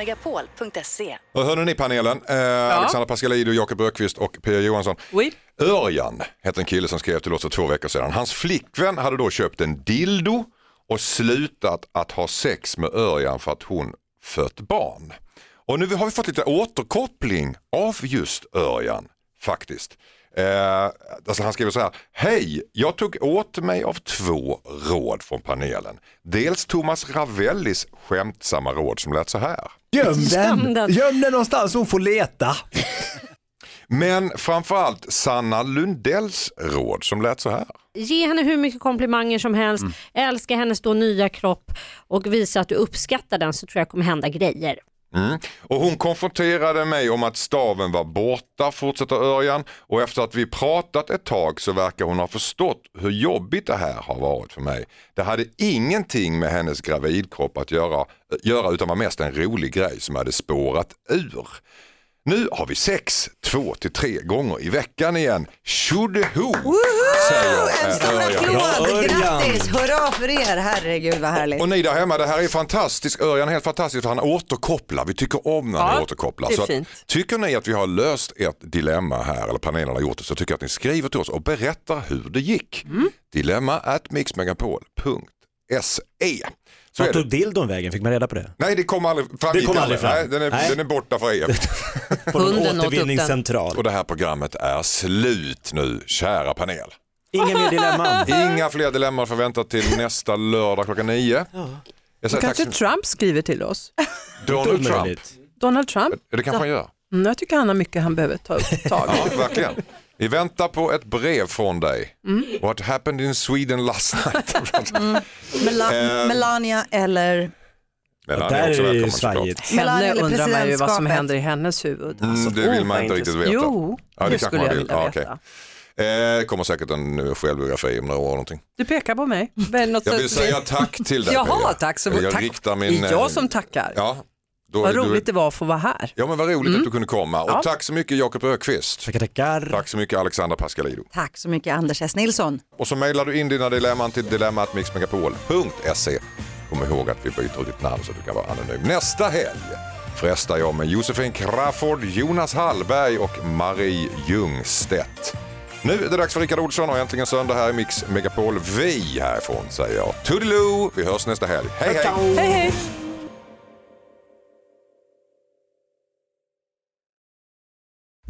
[SPEAKER 3] dilemma@mixmegapol.se.
[SPEAKER 1] Och hörde ni panelen, eh, Alexandra Pascalidou, Jakob Ökvist och Pia Johansson.
[SPEAKER 5] Oui.
[SPEAKER 1] Örjan hette en kille som skrev till oss för två veckor sedan. Hans flickvän hade då köpt en dildo och slutat att ha sex med Örjan för att hon fött barn. Och nu har vi fått lite återkoppling av just Örjan faktiskt. Eh, alltså han skriver så här, hej, jag tog åt mig av två råd från panelen. Dels Thomas Ravellis skämtsamma råd som lät så här.
[SPEAKER 7] Göm
[SPEAKER 5] Göm den.
[SPEAKER 7] den. Göm den någonstans, hon får leta.
[SPEAKER 1] Men framförallt Sanna Lundells råd som lät så här.
[SPEAKER 8] Ge henne hur mycket komplimanger som helst, älska hennes då nya kropp och visa att du uppskattar den så tror jag kommer hända grejer.
[SPEAKER 1] Mm. Och hon konfronterade mig om att staven var borta, fortsätter Örjan. Och efter att vi pratat ett tag så verkar hon ha förstått hur jobbigt det här har varit för mig. Det hade ingenting med hennes gravidkropp att göra, eh, göra utan var mest en rolig grej som hade spårat ur. Nu har vi sex, två till tre gånger i veckan igen. Tjoho! säger
[SPEAKER 6] En stor
[SPEAKER 1] eh, Örjan.
[SPEAKER 6] applåd,
[SPEAKER 2] Örjan.
[SPEAKER 6] grattis, hurra för er, herregud vad härligt.
[SPEAKER 1] Och ni där hemma, det här är fantastiskt. Örjan är helt fantastisk för han återkopplar. Vi tycker om när han
[SPEAKER 5] Ja,
[SPEAKER 1] återkopplar.
[SPEAKER 5] det är
[SPEAKER 1] så
[SPEAKER 5] fint.
[SPEAKER 1] Att, tycker ni att vi har löst ett dilemma här, eller panelen har gjort det, så tycker jag att ni skriver till oss och berättar hur det gick.
[SPEAKER 5] Mm.
[SPEAKER 1] Dilemma at mixmegapol.se. E. Så är det.
[SPEAKER 2] Vart tog dildon vägen? Fick man reda på det?
[SPEAKER 1] Nej, det kom aldrig fram.
[SPEAKER 2] Det kom aldrig fram.
[SPEAKER 1] Nej, den, är,
[SPEAKER 2] Nej.
[SPEAKER 1] den är borta för evigt.
[SPEAKER 2] På någon
[SPEAKER 5] Hunden åt upp den.
[SPEAKER 2] återvinningscentral.
[SPEAKER 1] Och det här programmet är slut nu, kära panel.
[SPEAKER 2] Inga
[SPEAKER 1] (laughs)
[SPEAKER 2] mer dilemman.
[SPEAKER 1] Inga fler dilemman förväntat till nästa lördag klockan nio. Jag säger tack
[SPEAKER 5] Kanske
[SPEAKER 1] så mycket.
[SPEAKER 5] Trump skriver till oss.
[SPEAKER 1] Donald Trump.
[SPEAKER 2] Omöjligt.
[SPEAKER 5] Donald Trump,
[SPEAKER 1] Det kanske han gör.
[SPEAKER 5] mm, jag tycker han har mycket han behöver ta upp tag i.
[SPEAKER 1] Ja, verkligen. Vi väntar på ett brev från dig.
[SPEAKER 5] Mm.
[SPEAKER 1] What happened in Sweden last night?
[SPEAKER 5] (laughs)
[SPEAKER 6] Mela-
[SPEAKER 1] Eh.
[SPEAKER 6] Melania eller
[SPEAKER 1] Men han
[SPEAKER 2] Där
[SPEAKER 1] också
[SPEAKER 2] är det ju
[SPEAKER 1] välkommen, såklart.
[SPEAKER 2] svajigt.
[SPEAKER 6] Melania
[SPEAKER 5] Henne
[SPEAKER 6] eller
[SPEAKER 5] undrar man ju vad som
[SPEAKER 6] presidentskapet.
[SPEAKER 5] händer i hennes huvud.
[SPEAKER 1] Mm, det vill
[SPEAKER 5] oh,
[SPEAKER 1] man
[SPEAKER 5] vad
[SPEAKER 1] inte riktigt
[SPEAKER 5] intressant.
[SPEAKER 1] veta.
[SPEAKER 5] Jo,
[SPEAKER 1] Ja, det
[SPEAKER 5] det
[SPEAKER 1] kanske
[SPEAKER 5] skulle
[SPEAKER 1] man
[SPEAKER 5] jag
[SPEAKER 1] vill.
[SPEAKER 5] vilja
[SPEAKER 1] Ja,
[SPEAKER 5] veta.
[SPEAKER 1] okej. Eh, det kommer säkert en eh, självbiografi om några år. Någonting.
[SPEAKER 5] Du pekar på mig. Väl något
[SPEAKER 1] Jag
[SPEAKER 5] sätt-
[SPEAKER 1] vill säga tack till dig. Pia.
[SPEAKER 5] (laughs) Jaha, tack. Så,
[SPEAKER 1] jag
[SPEAKER 5] tack.
[SPEAKER 1] riktar min...
[SPEAKER 5] Det är
[SPEAKER 1] eh,
[SPEAKER 5] jag som tackar.
[SPEAKER 1] Ja, då,
[SPEAKER 5] vad
[SPEAKER 1] du-
[SPEAKER 5] roligt Mm. det var att få vara här.
[SPEAKER 1] Ja, men vad roligt att du kunde komma. Och tack så mycket Jakob Ökvist.
[SPEAKER 2] Tackar, tackar.
[SPEAKER 1] Tack så mycket Alexandra Pascalidou.
[SPEAKER 6] Tack så mycket Anders S. Nilsson.
[SPEAKER 1] Och så mejlar du in dina dilemman till dilemmatmixmegapol.se. Kom ihåg att vi byter ditt namn så du kan vara anonym. Nästa helg frestar jag med Josefin Crafoord, Jonas Hallberg och Marie Ljungstedt. Nu är det dags för Rickard Olsson och äntligen söndag här i Mix Megapol. Vi härifrån säger jag toodiloo. Vi hörs nästa helg. Hej hej!
[SPEAKER 5] Hej, hej.